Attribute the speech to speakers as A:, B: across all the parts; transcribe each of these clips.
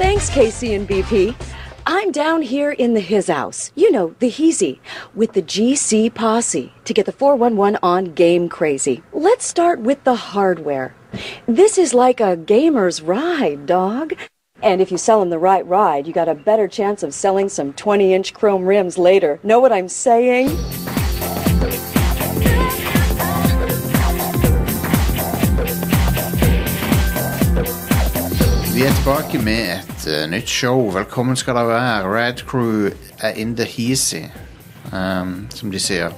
A: Thanks, Casey and BP. I'm down here in the his house, you know, the Heezy, with the GC posse to get the 411 on game crazy. Let's start with the hardware. This is like a gamer's ride, dog. And if you sell them the right ride, you got a better chance of selling some 20 inch chrome rims later. Know what I'm saying?
B: Vi er tilbake med et eh, nytt show. Velkommen skal dere være. Rad Crew er in the heasy, um, som de sier.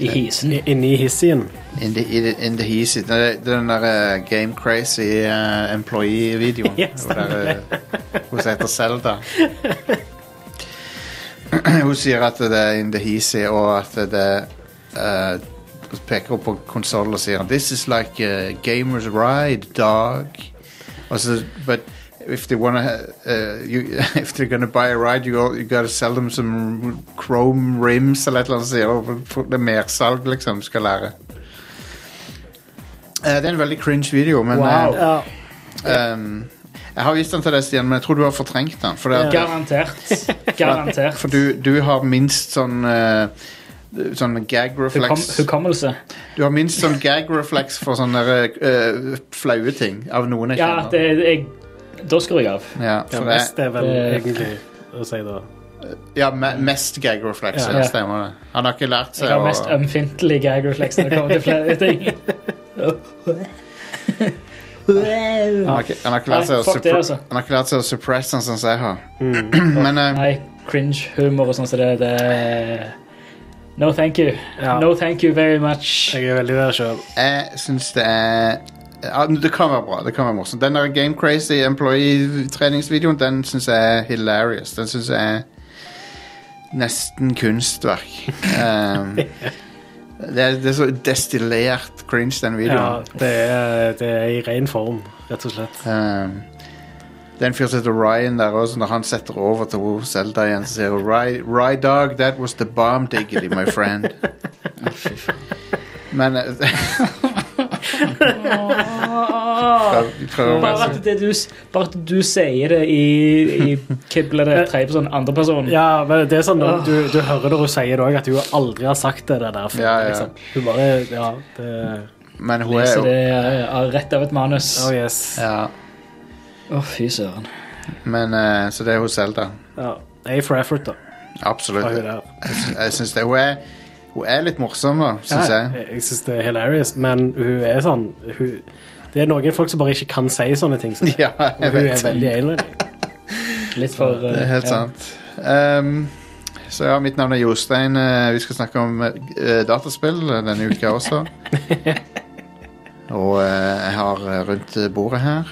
C: I hisen.
D: I- Inni hissien.
B: In the, in the, in the heasy. Det er det er den der eh, Game Crazy eh, employee-videoen.
C: Ja,
B: Hvor der, eh, Hun som heter Selda. Hun sier at det er in the heasy, og at det eh, peker opp på konsollen og sier This is like a gamer's ride, dog. Also, but if they want to, uh, you, if they're going to buy a ride, you, all, you got to sell them some chrome rims eller et eller annet sånt. og få- Det er mersalg, liksom, skal lære. Eh, det er en veldig cringe video, men eh,
D: Ja.
B: ehm, Jeg har vist den til deg, Stian, men jeg tror du har fortrengt den. For, det at-
C: Garantert. Garantert.
B: for du, du har minst sånn eh, Sånn gag
C: Hukom,
B: reflex
C: hukommelse.
B: Du har minst sånn gag reflex for sånne eh, flaue ting av noen jeg
C: Ja, det, jeg, da skrur jeg av.
B: Ja,
D: Ja,
B: for jeg,
D: mest er vel
C: det-
D: egentlig å si da.
B: Ja, me mest gag reflex, ja.
C: Ja.
B: stemmer det. Han har ikke lært
C: Jeg
B: seg
C: har mest ømfintlig gag reflex når det kommer til flere ting.
B: han har ikke, han har ikke lært seg
C: Nei,
B: å
C: fuck det,
B: suppre-
C: altså.
B: Han har ikke lært seg å suppresse den sånn som jeg har. Men eh,
C: Nei, cringe-humor og sånn som det, det No thank you.
D: Ja.
C: No thank you very much.
D: Jeg er veldig der sjøl.
B: jeg syns det er ja, Det kan være bra. det kan være morsomt. Den der Game Crazy employee-treningsvideoen den syns jeg er hilarious. Den syns jeg er nesten kunstverk. Um, det, er, det er så destillert cringe, den videoen.
D: Ja, det er, det er i ren form, rett og slett.
B: Um, det er en fyr som heter Ryan der også, når han setter over til hun Zelda igjen, så sier hun Rye, Rye dog, that was the bomb diggity, my friend. Men eh, Vi prøver å
C: Ah, Bare
B: være
C: at, det du, s- bare at du sier det i, i Kibble det tredje person, andre person.
D: Ja, men det er sånn, når du, du hører når hun sier det òg, at hun aldri har sagt det der før.
B: Ja, ja.
D: Liksom. Hun bare Ja, det
B: så- Men hun er
C: Så det
B: jo
C: er er rett av et manus.
D: Oh
C: Å,
D: yes.
B: ja,
C: fy søren.
B: men, eh, Så det er hun Zelda.
D: Ja. A for effort, da.
B: Absolutt.
D: Var hun der.
B: Jeg syns det. Hun er, hun er litt morsom, da, syns
D: Ja,
B: jeg.
D: jeg jeg syns det er hilarious, men hun er sånn hun, Det er noen folk som bare ikke kan si sånne ting. som det.
B: Ja,
D: Og
B: jeg
D: hun er
B: vet.
D: veldig en av dem.
C: Litt for eh,
B: Det er helt
C: ja.
B: sant. Ehm, så ja, mitt navn er Jostein. Eh, vi skal snakke om eh, dataspill denne uka også. Og eh, jeg har eh, rundt bordet her.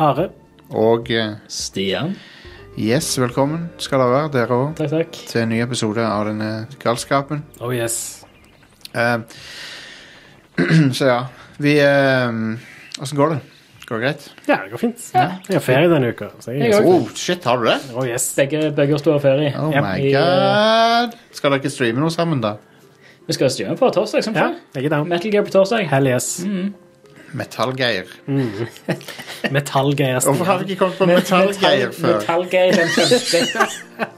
D: Are.
B: Og eh,
C: Stian.
B: yes, velkommen skal dere være, dere òg,
C: Takk, takk.
B: til en ny episode av denne galskapen.
D: Oh yes.
B: Ehm, så ja, vi ehm, Åssen går det? Går det greit?
D: Ja, det går fint. Jeg har ferie denne uka. Så jeg,
C: Jeg
B: Oh, shit, har du det?
D: oh yes.
C: Begge, begge oss to har ferie.
B: Oh
D: Ja,
B: my
C: vi, eh,
B: god. Skal dere ikke streame noe sammen, da?
C: Vi skal streame på torsdag, som
D: Ja,
C: før.
D: jeg er down.
C: Metal Gear på torsdag.
D: Hell yes.
B: Metallgeir.
D: Metallgeier.
B: Hvorfor har vi ikke kommet på metallgeir før?
C: Metallgeir den femte.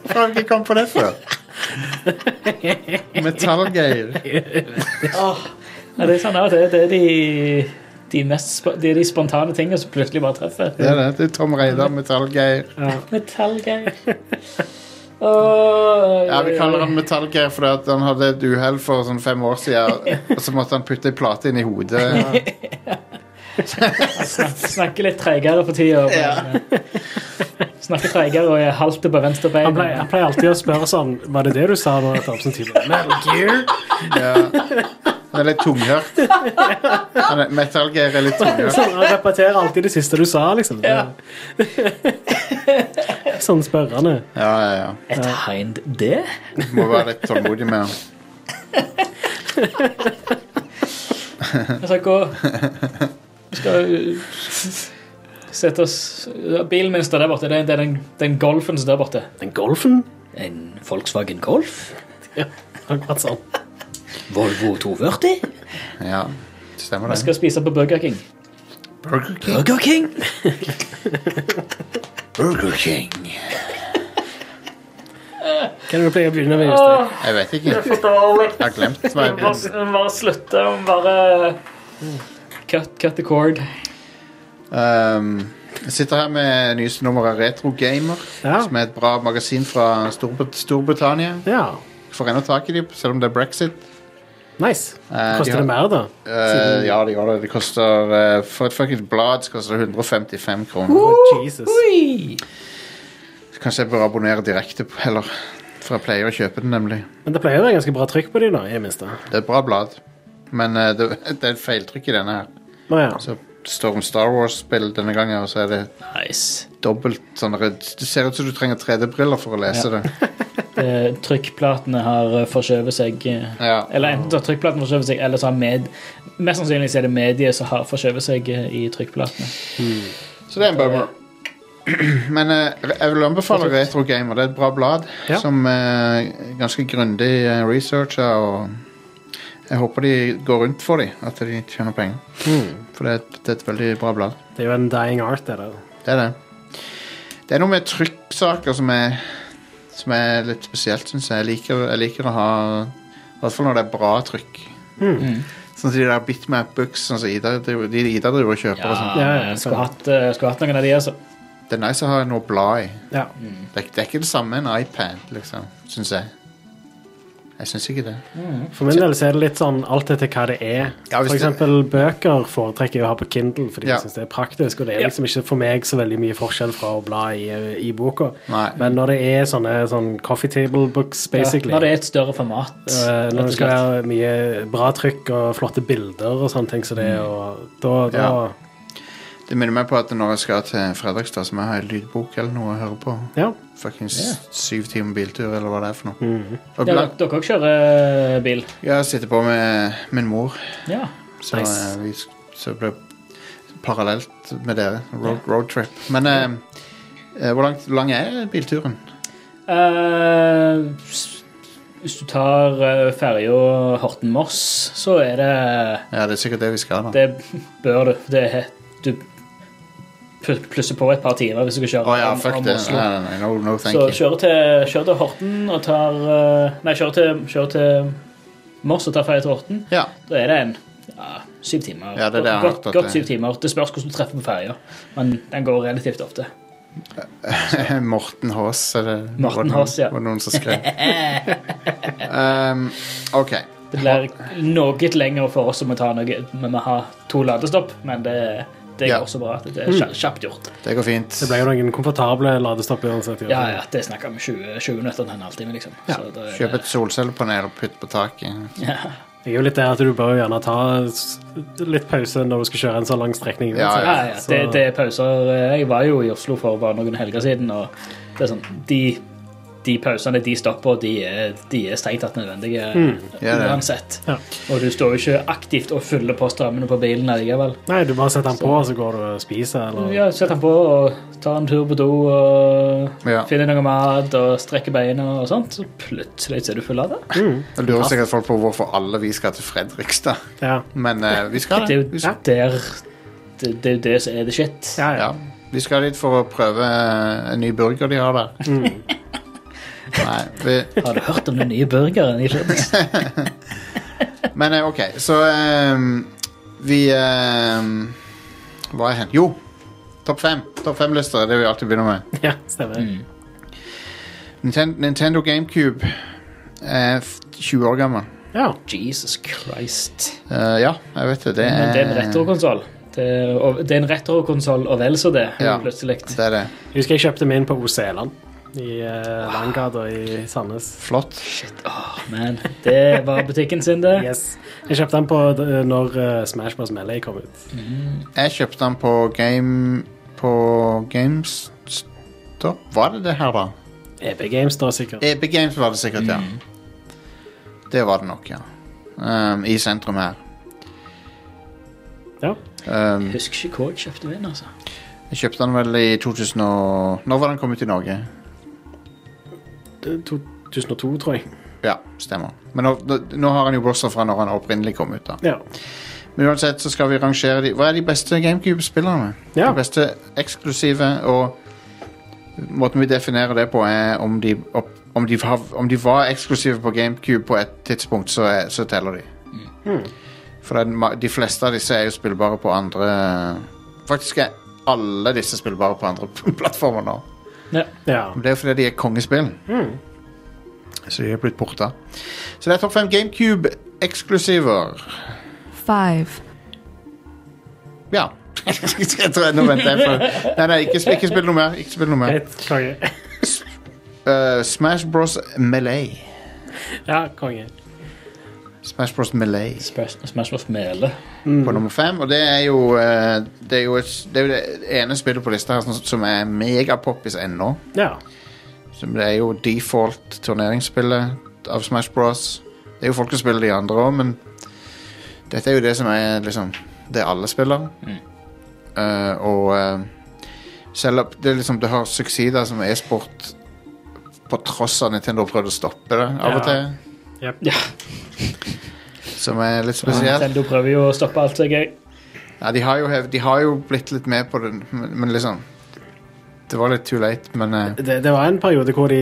B: Hvorfor har vi ikke kommet på det før? Metallgeir.
C: Åh, ja, det er sånn at det, det er de, de, mest, sp- det er de spontane tingene som plutselig bare treffer.
B: Det er det. Det er Tom Reidar, Metallgeir.
C: Metallgeir. Åh, eh,
B: Ja, Vi kaller han Metallgeir fordi at han hadde et uhell for sånn fem år siden. Og så måtte han putte ei plate inn i hodet.
C: Snak, Snakker litt treigere for tida. men, eh, Snakker treigere og er halter på venstre bein.
D: Han pleier, han pleier alltid å spørre sånn Var det det du sa nå? etter Absen tidligere? Metal Gear?
B: Ja. Han er litt tunghørt. Han er- Metallgeir er litt tunghørt.
D: Sånn, han repeterer alltid det siste du sa, liksom.
C: Ja.
D: sånn spørrende.
B: Ja, ja, ja.
C: Et hind det?
B: Må være litt tålmodig med ham.
C: Jeg skal gå Vi skal uh, sette oss øh, Bilen min står der borte. Det er- det er den, den Golfen som er der borte.
D: Den golfen?
E: En Volkswagen Golf?
D: Ja, akkurat sånn.
E: Volvo 240?
B: Ja, stemmer
C: Vi
B: det.
C: skal spise på Burger King.
B: Burger King.
E: Burger King?
B: Burger King.
D: Hva er det du pleier å begynne med? Jostein?
B: Jeg vet ikke. Jeg
C: Forståelig.
B: har glemt
C: Vi må
B: meg.
C: bare, vi må bare slutte. Vi må bare øh, cut, cut the cord.
B: Um, jeg sitter her med nyeste nummer av Retro Gamer,
D: Ja.
B: som er et bra magasin fra Storbrit Storbritannia.
D: Ja.
B: Får ennå tak i dem, selv om det er brexit.
D: Nice.
B: Eh, de
D: Koster
B: har-
D: det mer, da?
B: Eh, ja, det gjør det. Det koster eh, For et fuckings blad så koster det 155 kroner.
D: Oh, Jesus.
B: Kanskje jeg bør abonnere direkte på Eller For jeg pleier å kjøpe den, nemlig.
D: Men det pleier å være ganske bra trykk på de nå, i det minste.
B: Det er et bra blad, men eh, det, det er et feiltrykk i denne her.
D: Nå, ja.
B: Så det står om Star Wars-spill denne gangen, og så er det
C: Nice.
B: dobbelt sånn rødt. Det ser ut som du trenger 3D-briller for å lese det.
C: Eh, trykkplatene har eh, forskjøvet seg. eh,
B: Ja.
C: Eller enten så har trykkplatene forskjøvet seg, eller så har med, mest sannsynlig så er det mediet som har forskjøvet seg eh, i trykkplatene.
B: Så det er en bummer. Men eh, jeg vil anbefale Retro Gamer. Det er et bra blad
D: Ja.
B: som er ganske grundig eh, researcher, og jeg håper de går rundt for dem, at de tjener penger. For det er, et, det er et veldig bra blad.
D: Det er jo en dying art, det der.
B: Det er det. Det er noe med trykksaker som er, som er litt spesielt, syns jeg. Jeg liker, jeg liker å ha I hvert fall når det er bra trykk. Sånn som de der Bitmap-books som Ida, driver- de Ida driver og kjøper. Og sånn.
D: Ja, ja,
C: jeg skulle hatt, eh, skulle hatt noen av de, altså.
B: Det er nice å ha noe blad i.
D: Ja.
B: Det, er- det er ikke det samme en iPad, liksom, syns jeg. Jeg syns ikke det.
D: For min del så er det litt sånn alt etter hva det er.
B: Ja, hvis
D: for
B: det-
D: eksempel bøker foretrekker jeg å ha på Kindle, fordi
B: Ja.
D: jeg syns det er praktisk, og det er
C: Ja.
D: liksom ikke for meg så veldig mye forskjell fra å bla i, eh, i boka.
B: Nei.
D: Men når det er sånne sånn coffee table books, basically
C: Ja, når det er et større format.
D: eh,
C: rett
D: når
C: og
D: det skal
C: slett.
D: være mye bra trykk og flotte bilder og sånne ting som det,
B: Mm.
D: og da, da
B: Ja. Det minner meg på at når jeg skal til Fredrikstad, så må jeg ha en lydbok eller noe å høre på.
D: Ja.
B: Fuckings syv timer biltur, eller hva det er for noe. Og
C: Ja,
B: blant,
C: dere òg kjører bil?
B: jeg sitter på med min mor,
C: Ja.
B: så,
D: Nice.
B: eh, vi, sk- så det ble parallelt med dere. Road, roadtrip. Men eh, eh, hvor langt, lang er bilturen?
C: Eh, s- hvis du tar uh, ferja Horten-Moss, så er det
B: Ja, Det er sikkert det vi skal, da.
C: Det bør du. Det er, du pl- plusser på et par timer hvis du skal
B: Å
C: kjøre
B: ja,
C: om-
B: fuck
C: om
B: det.
C: Oslo.
B: Nei, nei, nei, no, no thank
C: Så
B: you.
C: kjør til, kjør til Horten og tar eh, Nei, kjør til, kjør til Moss og tar ferje til Horten.
B: Ja,
C: Da er det en ja, syv timer.
B: Ja, det er det jeg har hørt
C: godt,
B: at
C: godt
B: det-
C: syv timer. Det spørs hvordan du treffer på ferja, men den går relativt ofte.
B: Morten Haas er det
C: Morten
B: var det noen-
C: Haas, ja.
B: Var det noen som skrev um, Ok
C: Det blir noe lenger for oss om å ta noe Vi må ha to ladestopp, men det, det
B: Ja.
C: går så bra. Det er
D: Mm.
C: kja- kjapt gjort.
B: Det går fint
D: Det ble jo noen komfortable ladestopp uansett. i
C: Ja,
D: hvert
C: ja, det snakker vi om 20, 20 minutter til en halvtime, liksom. Så da er det-
B: Kjøp et solcellepanel og putt på taket
D: fall. Jeg er jo litt der at du bør jo gjerne ta s- litt pause når du skal kjøre en så lang strekning.
B: Ja,
D: uansett.
C: Ja, ja,
D: Så-
C: det, det er pauser. Eh, Jeg var jo i Oslo for bare noen helger siden, og det er sånn, de, de pausene de stopper, de er, de er strengt tatt nødvendige
B: Mm, Ja, det er.
C: uansett.
D: Ja.
C: Og du står jo ikke aktivt og fyller på strømmene på bilen allikevel.
D: Nei, du bare setter den på, og så går du og spiser, eller
C: Ja, Sett den på og tar en tur på do og
B: Ja.
C: finner noe mat og strekker beina og sånt. Så plutselig så er du full av det.
B: Jeg lurer sikkert folk på hvorfor alle vi skal til Fredrikstad
D: Ja.
B: Men eh, vi skal
C: Det er
B: det
C: jo
B: vi skal,
C: der det, det er jo det som er the shit.
D: Ja, ja.
B: ja. vi skal dit for å prøve eh, en ny burger de har der
C: Mm.
B: Nei, vi,
C: Har du hørt om den nye burgeren i Fredrikstad?
B: Men eh, ok, så ehm, Vi ehm, Hva er hen? Jo, topp fem. Topp fem-lister er det vi alltid begynner med.
D: ja Mm. stemmer.
B: Ninten- Nintendo GameCube er f- 20 år gammel.
D: Ja.
C: Jesus Christ.
B: Eh, ja, jeg vet det. Det
C: Men
B: er,
C: det er en retrokonsoll. Det, er- og det er en retrokonsoll, og vel så det,
B: Ja.
C: plutselig.
B: det er det.
D: Jeg husker jeg kjøpte min på Oseland. I eh, Langgata i Sandnes.
B: Flott.
C: Åh, men det var butikken sin, det.
D: Yes. Jeg kjøpte den på eh, når eh, Smash Bros. Melee kom ut.
B: Jeg kjøpte den på Game På GameStop. Var det det her, da?
D: EB E Games, da, sikkert.
B: EB Games var det sikkert, ja.
C: Mm.
B: Det var det nok, ja. Ehm, I sentrum her.
D: Ja.
B: Ehm,
C: Jeg husker ikke hvor jeg kjøpte min, altså.
B: Jeg kjøpte den vel i 2000 og... Når var den kommet til Norge?
D: Det- 2002, tror jeg.
B: Ja, stemmer. Men nå, nå- nå har han jo bortsett fra når han opprinnelig kom ut. da.
D: Ja.
B: Men uansett så skal vi rangere de Hva er de beste GameCube-spillerne?
D: Ja.
B: De beste eksklusive og Måten vi definerer det på, er om de, opp, om de, har, om de var eksklusive på GameCube på et tidspunkt, så, er, så teller de. For den, ma- de fleste av disse er jo spillbare på andre Faktisk er alle disse spillbare på andre plattformer nå.
E: Ja.
D: Ja.
B: Men Det er fordi de er kongespill. Så de er blitt porta. Så det er topp fem GameCube-eksklusiver.
F: five,
B: Ja. jeg tror jeg nå venter jeg på Nei, nei, ikke, sp- ikke spill noe mer. Ikke spill noe mer.
D: Greit. Konge.
B: Eh, Smash Bros. Melee.
D: Ja, konge.
B: Smash Bros. Melee
E: Smash, Smash Bros. Mele.
B: på nummer fem. Og det er jo, eh, det, er jo et, det er jo det ene spillet på lista her som, som er megapoppis ennå.
D: Ja.
B: Som det er jo default turneringsspillet av Smash Bros. Det er jo folk som spiller de andre òg, men dette er jo det som er liksom Det alle spiller. Eh, og eh, selv om det, liksom, det har suksess da som e-sport på tross av Nintendo har prøvd å stoppe det av og
D: Ja.
B: til,
D: Jep.
E: Ja.
B: som er litt spesielt.
E: Nintendo prøver jo å stoppe alt seg gøy.
B: Ja, de har, jo, hev- de har jo blitt litt med på det, men, men liksom Det var litt too late, men eh,
D: Det, det var en periode hvor de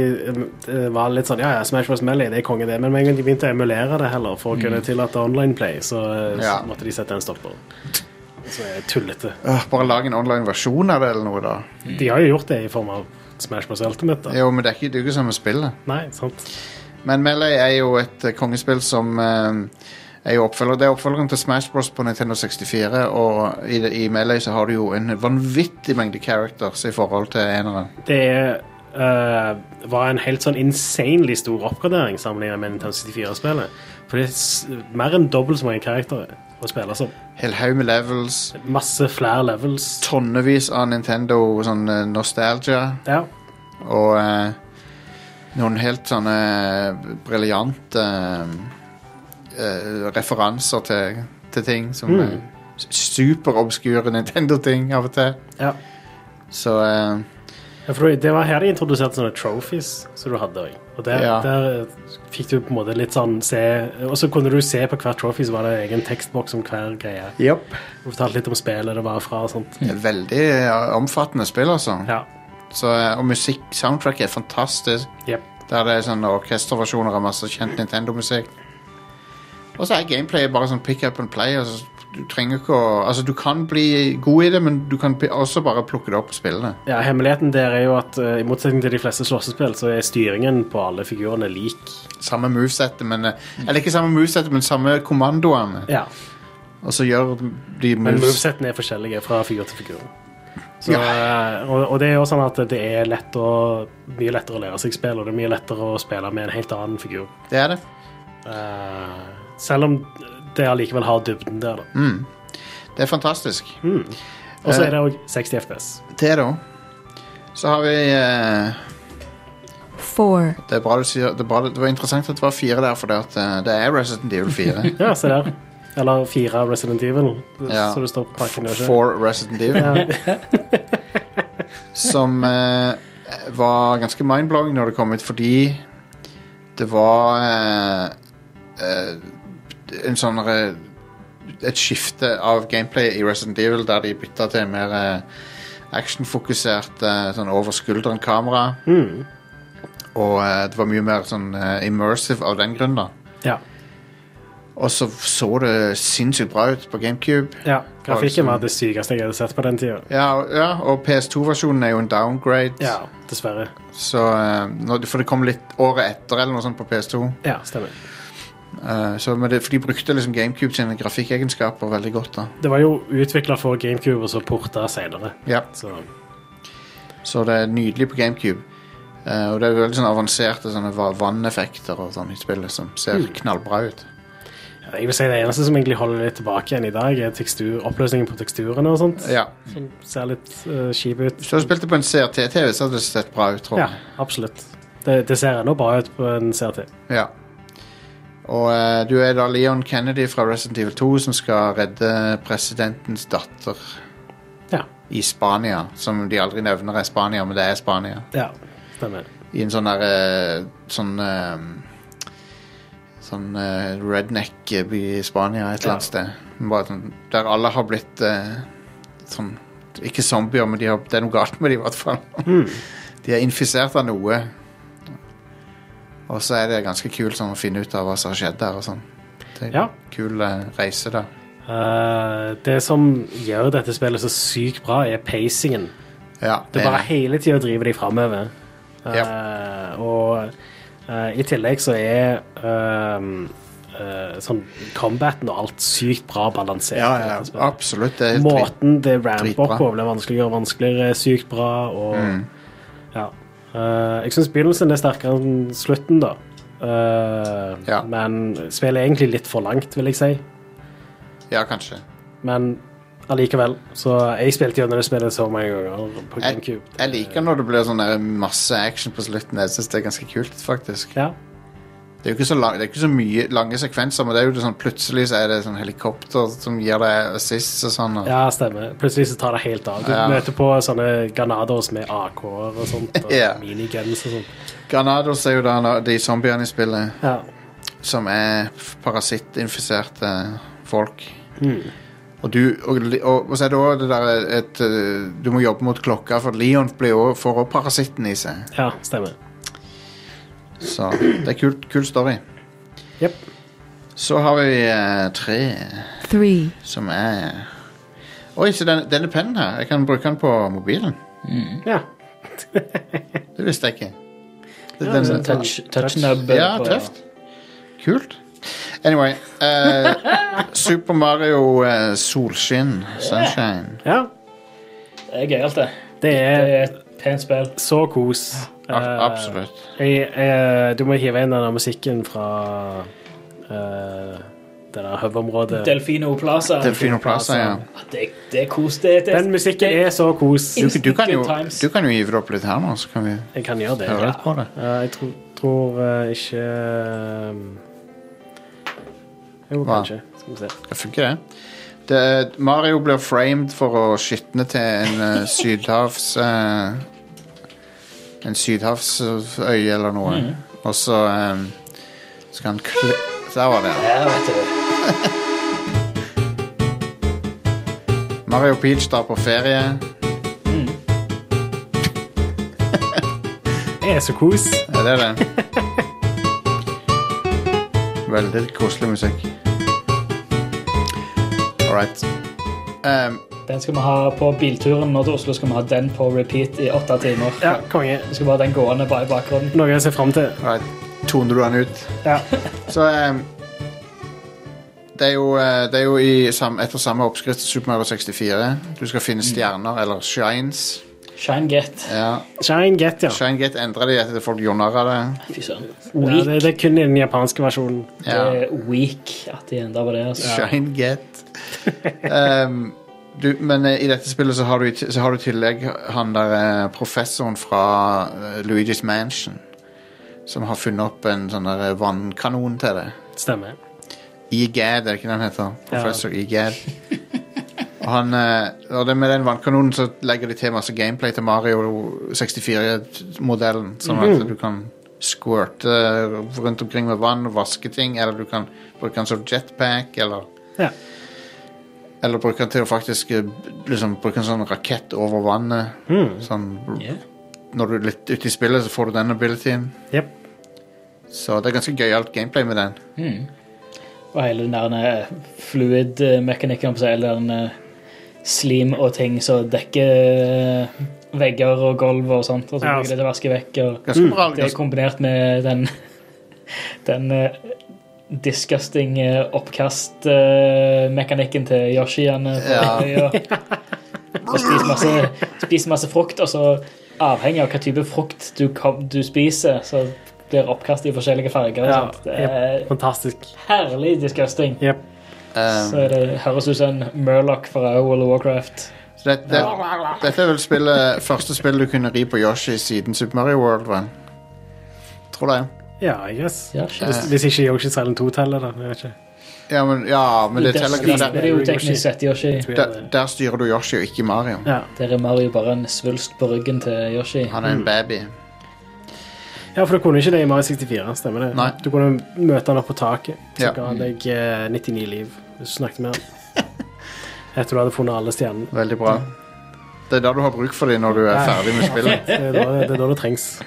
D: eh, var litt sånn Ja, ja, Smash Bros. Melee, det er konge, det. Men med en gang de begynte å emulere det heller for å kunne tillate online play, så, eh,
B: Ja.
D: så måtte de sette en stopper. Så er det tullete.
B: øh, bare lag en online versjon av det eller noe, da.
D: De har jo gjort det i form av Smash Bros. Ultimate, da.
B: Jo, men det er ikke, det er jo ikke samme spillet.
D: Nei, sant?
B: Men Melee er jo et eh, kongespill som eh, er jo oppfølger, Det er oppfølgeren til Smash Bros. på Nintendo 64, og i, det- i Melee så har du jo en vanvittig mengde characters i forhold til eneren.
D: Det er, eh, var en helt sånn insanely stor oppgradering sammenlignet med Nintendo 64-spillet. For det er s mer enn dobbelt så mange karakterer å spille som.
B: Hel haug med levels,
D: Masse flere levels.
B: tonnevis av Nintendo sånn eh, nostalgia.
D: Ja.
B: Og eh, noen helt sånne briljante eh, eh, referanser til, til ting som
D: Mm.
B: eh, s- Superobskure Nintendo-ting av og til.
D: ja.
B: Så eh,
D: Ja, for det var her de introduserte sånne trophies som du hadde også. Og der,
B: Ja.
D: der fikk du på en måte litt sånn se Og så kunne du se på hver trophy, så var det en egen tekstboks om hver greie. Og fortalte litt om spillet det var fra og sånt.
B: det er veldig eh, omfattende spill, altså.
D: Ja.
B: Så, eh, og musikk, soundtracket er fantastisk.
D: Jep.
B: Der det er sånne orkesterversjoner av masse kjent Nintendo-musikk. Og så er gameplayet bare sånn pick up and play. Altså, du trenger ikke å Altså, du kan bli god i det, men du kan pi- også bare plukke det opp og spille det.
D: Ja, Hemmeligheten der er jo at eh, i motsetning til de fleste slåssespill, så er styringen på alle figurene lik.
B: samme movesettet, men eh, Eller ikke samme movesettet, men samme kommandoene.
D: Mm. Ja.
B: Og så gjør de
D: Men
B: moves
D: movesettene er forskjellige fra figur til figur. Så, eh, og, og det er jo sånn at det er lett å, mye lettere å lære seg spill, og det er mye lettere å spille med en helt annen figur.
B: Det er det.
D: Eh, selv om det allikevel har dybden der, da.
B: Det er fantastisk.
D: Og så er det òg 60 FPS.
B: Det, da. Så har vi eh,
F: four,
B: det, er bra du sier, det, er bra, det var interessant at det var fire der, for at, eh, det er Resident Evil 4.
D: Ja, se der. Eller fire av Resident Evil,
B: Ja.
D: så det står på pakken. gjør det ikke?
B: For Resident Evil.
D: Ja.
B: Som eh, var ganske mindblowing når det kom ut, fordi det var eh, eh, en sånn eh, Et skifte av gameplay i Resident Evil der de bytta til mer eh, actionfokusert eh, sånn over skulderen-kamera. Og eh, det var mye mer sånn eh, immersive av den grunn, da.
D: ja.
B: Og så så det sinnssykt bra ut på GameCube.
D: ja. Grafikken var det sykeste jeg hadde sett på den tida.
B: Ja, og- ja og PS2-versjonen er jo en downgrade.
D: Ja, dessverre.
B: Så, eh, når, for det kom litt året etter eller noe sånt på PS2.
D: Ja, stemmer.
B: Eh, så, men det, for de brukte liksom GameCube sine grafikkegenskaper veldig godt. da
D: Det var jo utvikla for GameCube og så porta senere.
B: ja.
D: Så
B: Så det er nydelig på GameCube. Eh, og det er veldig sånn avanserte sånne va- vanneffekter og sånn i spillet som ser
D: Mm.
B: knallbra ut.
D: ja, jeg vil si Det eneste som egentlig holder litt tilbake igjen i dag, er tekstur, oppløsningen på teksturene og sånt.
B: Ja.
D: Som ser litt uh, skip ut.
B: Hvis du hadde spilt det på en CRT-TV, så hadde det sett bra ut. tror
D: Ja,
B: jeg
D: absolutt. Det, det ser ennå bra ut på en CRT.
B: Ja. Og eh, du er da Leon Kennedy fra Resident Evil 2 som skal redde presidentens datter
D: Ja.
B: i Spania. Som de aldri nevner er Spania, men det er Spania.
D: Ja, stemmer.
B: I en sånn der eh, Sånn eh, Sånn eh, redneck-by i Spania et eller annet sted. Bare sånn, der alle har
D: Hmm.
B: blitt eh, sånn Ikke zombier, men de har, det er noe galt med dem i hvert fall. De er infisert av noe. Og så er det ganske kult sånn, å finne ut av hva som har skjedd der. og sånn. Det er en
D: Ja.
B: Kul eh, reise, da.
D: Eh, det som gjør dette spillet så sykt bra, er pacingen.
B: Ja,
D: Det bare hele tida driver deg framover. Og eh, i tillegg så er ehm, eh, sånn combaten og alt sykt bra balansert.
B: ja,
D: i
B: ja,
D: dette spillet.
B: absolutt. Det er helt drit-
D: Måten det ramper
B: dritbra. Mm.
D: opp på, blir vanskeligere og vanskeligere, er sykt bra. Og, ja. Eh, jeg syns begynnelsen er sterkere enn slutten, da. Eh,
B: Ja.
D: Men spillet er egentlig litt for langt, vil jeg si.
B: Ja, kanskje.
D: Men allikevel. Så jeg spilte gjennom det spillet så mange ganger på
B: Jeg,
D: GameCube.
B: jeg liker når det blir sånn der masse action på slutten. Jeg synes det er ganske kult, faktisk.
D: Ja.
B: Det er jo ikke så, lang, det er ikke så mye lange sekvenser, men det er jo sånn, plutselig så er det sånn helikopter som gir deg assist og sånn. Og,
D: Ja, stemmer. Plutselig så tar det helt av. Du
B: Ja.
D: møter på sånne granader som er AK-er og sånt. Og
B: Ja.
D: Miniguns og sånt.
B: Granados er jo da nå- de zombiene i spillet
D: Ja.
B: som er f- parasittinfiserte folk. Og, du, og, li- og, og så er det òg det derre et eh, Du må jobbe mot klokka, for Leon blir jo, får òg parasitten i seg.
D: ja, stemmer.
B: Så det er kult, kul story.
D: Jep.
B: Så har vi eh, tre
A: three,
B: som er Oi, så den, denne pennen her. Jeg kan bruke den på mobilen. Mm.
D: Ja.
B: Det visste jeg ikke. Det er
D: Ja,
B: den som
D: men-
C: Touch, touch nub.
B: Ja, tøft. Kult. Anyway eh, Super Mario eh, Solskinn, Sunshine.
D: ja.
C: Det er gøyalt, det.
D: Det
C: Det
D: er
C: er et pent spill.
D: så kos.
B: A-
D: Eh,
B: absolutt.
D: jeg, jeg, du må hive inn den der musikken fra eh, det der høveområdet.
C: Delfino Plaza.
B: Delfino Plaza, ja.
C: Ah, Det, det er kos. Det, det,
D: Den musikken er så kos.
B: Du, du, kan jo,
C: Eh, Good times.
B: du kan jo hive det opp litt her nå, så kan vi
D: Jeg kan gjøre det.
B: høre litt på det.
D: Eh, jeg tror, tror eh, ikke eh, Jo,
B: Hva?
D: kanskje. Skal vi se.
B: Det funker, det. det Mario blir framed for å skitne til en eh, sydhavs... Eh, en sydhavsøy eller noe. Og så eh, skal han kle... Der var det. ja.
C: Ja, vet du.
B: Mario og Peach drar på ferie.
D: Det er så kos.
B: Ja, det er det. Veldig koselig musikk. All right. Ehm,
C: Den skal vi ha på bilturen nå til Oslo. Skal vi ha den på repeat i åtte timer.
D: Ja, konge.
C: Vi skal bare ha den gående bare i bakgrunnen.
D: Noe jeg ser fram til.
B: all right. Toner du han ut?
D: Ja.
B: Så ehm, det, er jo, eh, det er jo i sam, etter samme oppskrift som Super Mario 64. Du skal
C: Mm.
B: finne stjerner, eller shines.
C: Shine get.
B: Ja.
D: Shine Get, ja.
B: Shinegate endrer de etter at folk gjorde det.
C: Fy søren.
D: ja
C: Weak.
D: det, det er kun i den japanske versjonen.
B: Ja.
C: Det er weak at de enda på det. Altså.
B: Shine get. Ehm, du, men eh, i dette spillet så har du, i ti- så har du i tillegg han der eh, professoren fra eh, Luigi's Mansion. Som har funnet opp en sånn der eh, vannkanon til det.
D: Stemmer.
B: Igad, er det ikke den heter?
D: Ja.
B: Professor Igad. Og, han, eh, og det med den vannkanonen så legger de til masse gameplay til Mario 64-modellen. Sånn at du kan squirte rundt omkring med vann og vaske ting, eller du kan bruke den som jetpack, eller
D: Ja.
B: eller bruke den til å faktisk eh, liksom, bruke en sånn rakett over vannet. Sånn,
C: Ja.
B: Når du er litt ute i spillet, så får du den abilityen.
D: Jep.
B: Så det er ganske gøyalt gameplay med den.
C: Og hele den der eh, fluid-mekanikken, eller den eh, slim og ting som dekker eh, vegger og gulv og sånt. Og så
D: Ja,
C: bruker det til å vaske vekk. Og
B: Ganske bra.
C: det er
B: Ganske,
C: kombinert med den, den eh, disgusting eh, oppkast-mekanikken til eh, Yoshiene. på
B: Ja.
C: øya. Og spiser masse, spiser masse frukt, og så avhengig av hva type frukt du, kom, du spiser, så blir oppkast i forskjellige farger. Og
D: Ja,
C: sånt. Det er
D: jep. Fantastisk.
C: herlig disgusting.
D: Jep.
B: eh,
C: Så det høres ut som en Murloc fra World of Warcraft.
B: så det, det, dette er vel spillet, første spillet du kunne ri på Yoshi siden Super Mario World, vel? Tror det.
D: Ja, I guess.
B: Eh,
C: Ja,
D: Hvis, hvis ikke Yoshi Silent 2 teller, da. Jeg vet ikke.
B: Ja, men, ja, men det teller ikke. for
C: Det er
B: Der,
C: jo teknisk sett Yoshi.
D: Tror jeg
B: der,
D: det.
B: der styrer du Yoshi og ikke Mario.
D: Ja.
C: Der er Mario bare en svulst på ryggen til Yoshi.
B: Han
D: Mm.
B: er en baby.
D: ja, for du kunne ikke det i Mario 64. Stemmer det?
B: Nei.
D: Du kunne møte han opp på taket, så
B: Ja.
D: ga han deg eh, 99 liv hvis du snakket med han. Etter du hadde funnet alle stjernene.
B: Veldig bra. Det er da du har bruk for dem når du er
D: Ja.
B: ferdig med spillet.
D: Det er da det, er da det trengs.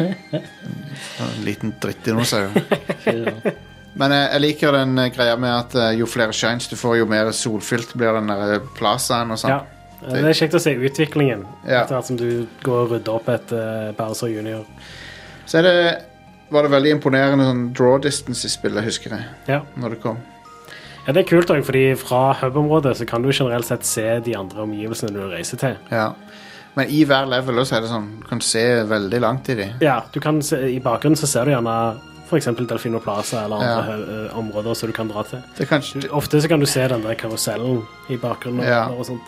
B: En liten drittdinosaur.
E: Ikke-
B: Men jeg, jeg liker den eh, greia med at eh, jo flere shines du får, jo mer solfylt blir den der eh, plazaen og
D: Ja.
B: sånn.
D: Det er kjekt å se utviklingen
B: Ja.
D: etter hvert som du går og rydder opp etter Bowser junior.
B: Så er det, var det veldig imponerende sånn draw distance i spillet, husker jeg,
D: Ja.
B: når det kom.
D: Ja, det er kult òg, fordi fra hub-området så kan du generelt sett se de andre omgivelsene du reiser til.
B: Ja. Men i hver level også er det sånn, du kan se veldig langt i de.
D: Ja, du kan se, I bakgrunnen så ser du gjerne f.eks. Delfino Plaza eller andre
B: Ja.
D: hø- eh, områder som du kan dra til.
B: Det er kanskje,
D: Du, ofte så kan du se den der karusellen i bakgrunnen. og-
B: Ja.
D: og sånt.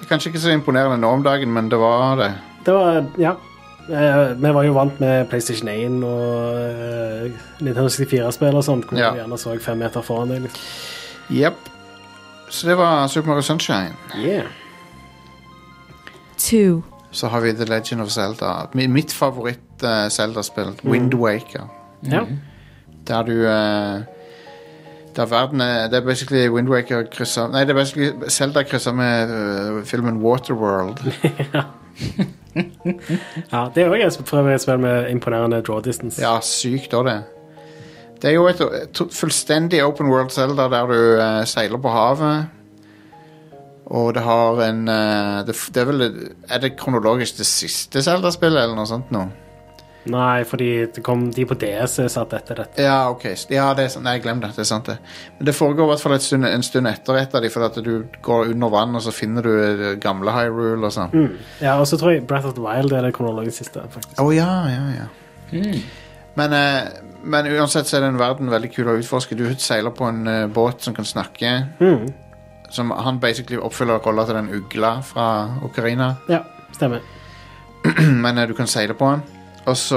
B: det er kanskje ikke så imponerende nå om dagen, men det var det.
D: Det var Ja. Eh, vi var jo vant med PlayStation 1 og eh, Nintendo 64-spill og sånt, hvor
B: Ja.
D: du gjerne så fem meter foran deg. Liksom.
B: Jepp. Så det var Super Mario Sunshine.
D: Yeah.
F: two,
B: Så har vi The Legend of Zelda. Mi- Mitt favoritt eh, Zelda-spill, Wind Waker.
D: Ja.
B: Mhm. Der du eh, Der verden er Det er basically Wind Waker kryssa Nei, det er basically Zelda kryssa med eh, filmen Waterworld.
D: ja. Det er òg et for øvrig et spill med imponerende draw distance.
B: Ja, sykt òg, det. Det er jo et to- fullstendig open world Zelda der du eh, seiler på havet. Og det har en eh, det, f- det er vel Er det kronologisk det siste Zelda-spillet, eller noe sånt? nå?
D: Nei, fordi det kom, de på DS er satt etter dette.
B: Ja, ok. Ja, det er sant. Nei, glem det. Det er sant, det. Men det foregår i hvert fall et stund, en stund etter et av de, for at du går under vann, og så finner du det gamle Hyrule og sånn. Å
D: Ja, og så tror jeg Breath of the Wild er det kronologisk siste. faktisk.
B: ja, ja, ja. Mm. Men, eh, men uansett så er den verden veldig kul å utforske. Du seiler på en eh, båt som kan snakke. Som han basically oppfyller rolla til den ugla fra Ocarina.
D: Ja, stemmer.
B: men eh, du kan seile på den. Og så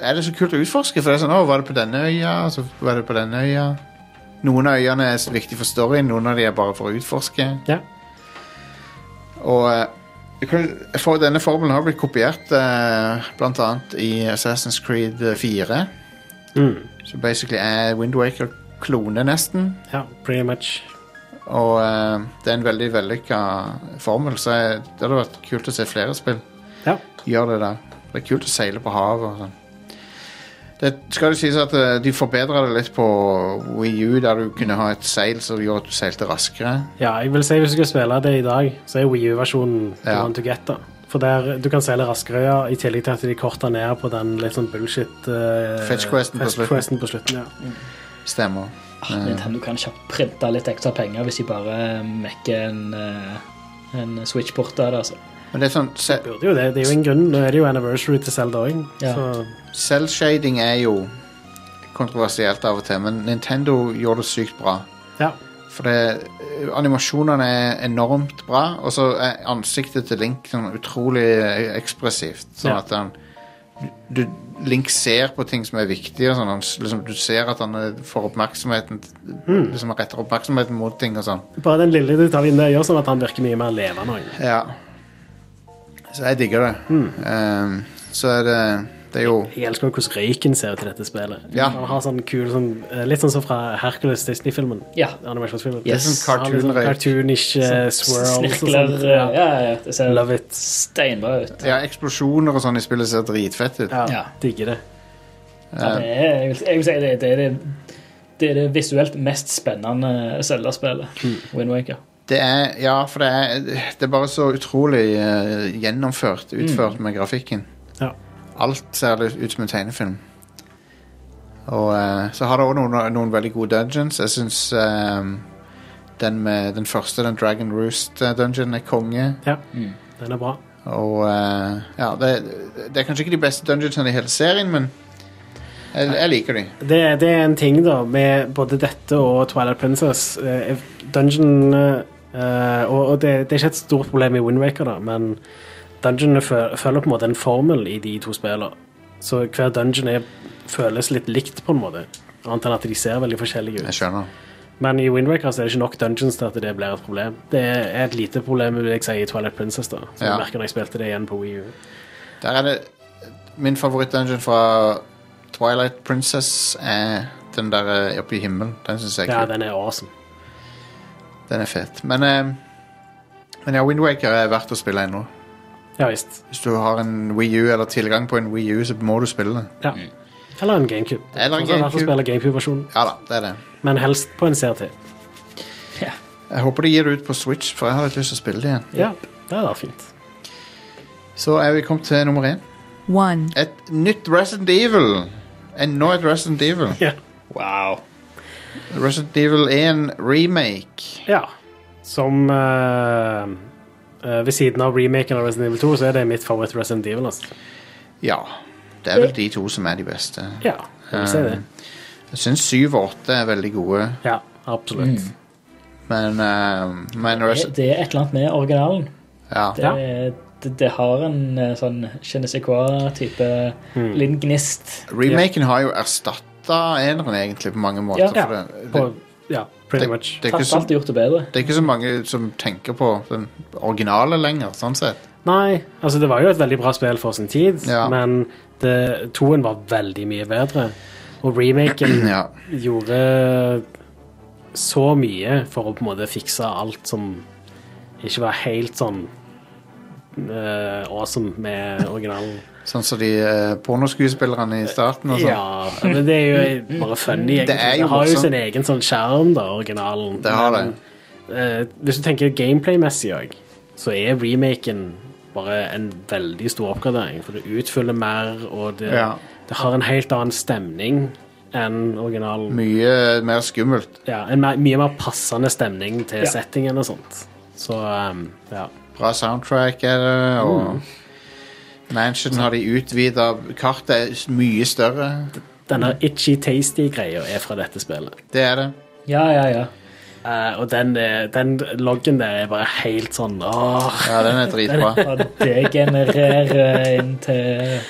B: er det så kult å utforske, for det er sånn Å, var det på denne øya? Og Så var det på denne øya. Noen av øyene er så viktige for storyen, noen av de er bare for å utforske.
D: Ja.
B: Og eh, du kan, for, denne formelen har blitt kopiert eh, blant annet i Assassin's Creed 4.
D: Mm.
B: Så basically er Windwaker klone, nesten.
D: ja, pretty much.
B: Og eh, det er en veldig vellykka formel, så jeg, det hadde vært kult å se flere spill
D: Ja.
B: gjør det der. Det er kult å seile på havet og sånn. Det skal det sies at eh, de forbedra det litt på Wii U, der du kunne ha et seil som gjorde at du seilte raskere.
D: ja, jeg vil si hvis du skal spille det i dag, så er Wii U-versjonen the
B: Ja.
D: one to get. da. For der, Du kan seile raskere, ja, i tillegg til at de korter ned på den litt sånn bullshit uh,
B: Fetch-questen på slutten.
D: questen på slutten. ja.
B: Stemmer.
C: Ah, Nintendo kan kjapt printe litt ekstra penger hvis de bare mekker en, eh, en Switch-port av det. Altså.
B: Men det er sånn se
D: Burde jo det. Det er jo en grunn. Nå er det jo anniversary til Zelda òg.
C: Ja.
D: Så
B: Selvshading er jo kontroversielt av og til, men Nintendo gjorde det sykt bra.
D: ja.
B: For det, eh, animasjonene er enormt bra, og så er ansiktet til Link sånn utrolig eh, ekspressivt. Sånn
D: Ja.
B: at han du, Link ser på ting som er viktige. og Sånn, han, s- liksom, du ser at han eh, får oppmerksomheten Liksom retter oppmerksomheten mot ting og sånn.
D: Bare den lille detaljen der gjør sånn at han virker mye mer levende. også.
B: Ja. Så jeg digger det. Ehm, så er det Det er jo
D: Jeg elsker jo hvordan røyken ser ut i dette spillet.
B: Ja.
D: Han har sånn kul, sånn, eh, Litt sånn som fra Hercules Disney-filmen.
C: Ja.
D: Animasjonsfilmen.
C: Yes.
B: sånn
D: Han har litt sånn
B: cartoon-røyk.
D: Cartoonish eh, swirls og
C: Snirkler
D: sånn.
C: eh, ja, ja, Det ser
D: Love it.
C: steinbra ut.
B: ja, Eksplosjoner og sånn i spillet ser dritfett ut.
D: Ja,
C: Ja.
D: Digger det.
C: Ja, det er, jeg, vil, jeg vil si det, det, er det, det er det visuelt mest spennende Zelda-spillet.
D: Hmm.
C: Wind Waker.
B: Det er, ja, for det er, det er bare så utrolig eh, gjennomført, utført med grafikken.
D: Ja.
B: Alt ser det ut som en tegnefilm. Og eh, så har det òg noen, noen veldig gode dungeons. Jeg syns eh, den, med- den første, den Dragon Roost-dungeon, er konge.
D: Ja.
C: Mm.
D: Den er bra.
B: Og eh, ja, det, det er kanskje ikke de beste dungeonsene i hele serien, men jeg, jeg liker de.
D: Det, det er en ting, da, med både dette og Twilight Princess. eh, Dungeon eh, Og, og det, det er ikke et stort problem i Windwaker, da, men dungeonene fø- følger på en måte en formel i de to spillene. Så hver dungeon er, føles litt likt, på en måte. Annet enn at de ser veldig forskjellige ut.
B: Jeg skjønner.
D: Men i Windwaker så er det ikke nok dungeons til at det blir et problem. Det er et lite problem vil jeg si, i Twilight Princess, da. Som
B: Ja.
D: jeg merker når jeg spilte det igjen på Wii U.
B: Der er det Min favorittdungeon fra Twilight Princess er den der eh, oppe i himmelen. Den syns jeg er
D: Ja,
B: kul.
D: den er awesome.
B: Den er fet. Men, eh, men ja, Windwaker er verdt å spille ennå.
D: Ja visst.
B: Hvis du har en Wii U eller tilgang på en Wii U, så må du spille det.
D: Ja. Eller en GameCube.
B: Eller Mm. en
D: Altså, i hvert fall
B: GameCube.
D: spille GameCube-versjonen,
B: Ja da, det er det.
D: men helst på en CRT.
B: Jeg håper de gir det ut på Switch, for jeg har litt lyst til å spille det igjen.
D: Ja, det hadde vært fint.
B: Så er vi kommet til nummer én.
F: one,
B: Et nytt Resident Evil. Enda et Resident Evil.
D: Ja.
C: Wow.
B: Resident Evil 1 remake.
D: ja. Som eh, eh, Ved siden av remaken av Resident Evil 2, så er det mitt favoritt Resident Evil. Altså.
B: Ja. Det er vel de to som er de beste.
D: Ja, jeg vil si
B: Eh.
D: det.
B: Jeg syns syv og åtte er veldig gode,
D: Ja, absolutt.
B: Mm. men, eh, men
C: Det,
B: Resi-
C: det er et eller annet med originalen.
B: ja.
C: Det,
D: Ja.
C: det, det har en eh, sånn je ne sais quoi-type
D: Hmm.
C: liten gnist.
B: Remaken har jo erstatta eneren, egentlig, på mange måter.
C: Ja.
B: for
D: Ja.
B: det,
D: På,
B: det,
D: ja,
B: det,
D: pretty
B: det,
D: much.
B: er ikke
C: Tatt
B: så,
C: alt og gjort det bedre.
B: det er ikke så mange som tenker på den originale lenger, sånn sett.
D: Nei, altså det var jo et veldig bra spill for sin tid,
B: Ja.
D: men det, toen var veldig mye bedre. Og remaken
B: Ja.
D: gjorde så mye for å på en måte fikse alt som ikke var helt sånn eh, awesome med originalen.
B: Sånn som de eh, pornoskuespillerne i starten og sånn.
D: Ja, men det er jo bare funny.
B: Det
D: Det,
B: er jo
D: det har jo
B: morsomt.
D: sin egen sånn skjerm, da, originalen.
B: Det har det.
D: Eh, hvis du tenker gameplay-messig òg, så er remaken bare en veldig stor oppgradering. For det utfyller mer, og det,
B: Ja.
D: det har en helt annen stemning enn originalen.
B: Mye mer skummelt.
D: Ja, en mer, mye mer passende stemning til
C: Ja.
D: settingen og sånt. Så ehm, ja.
B: Bra soundtrack er det, og Mansion har de utvida. Kartet er mye større.
D: Denne itchy tasty greia er fra dette spillet.
B: Det er det.
C: Ja, ja, ja.
D: Eh, og den, er- den loggen der er bare helt sånn åh.
B: Ja, den er dritbra.
C: Og det genererer inn til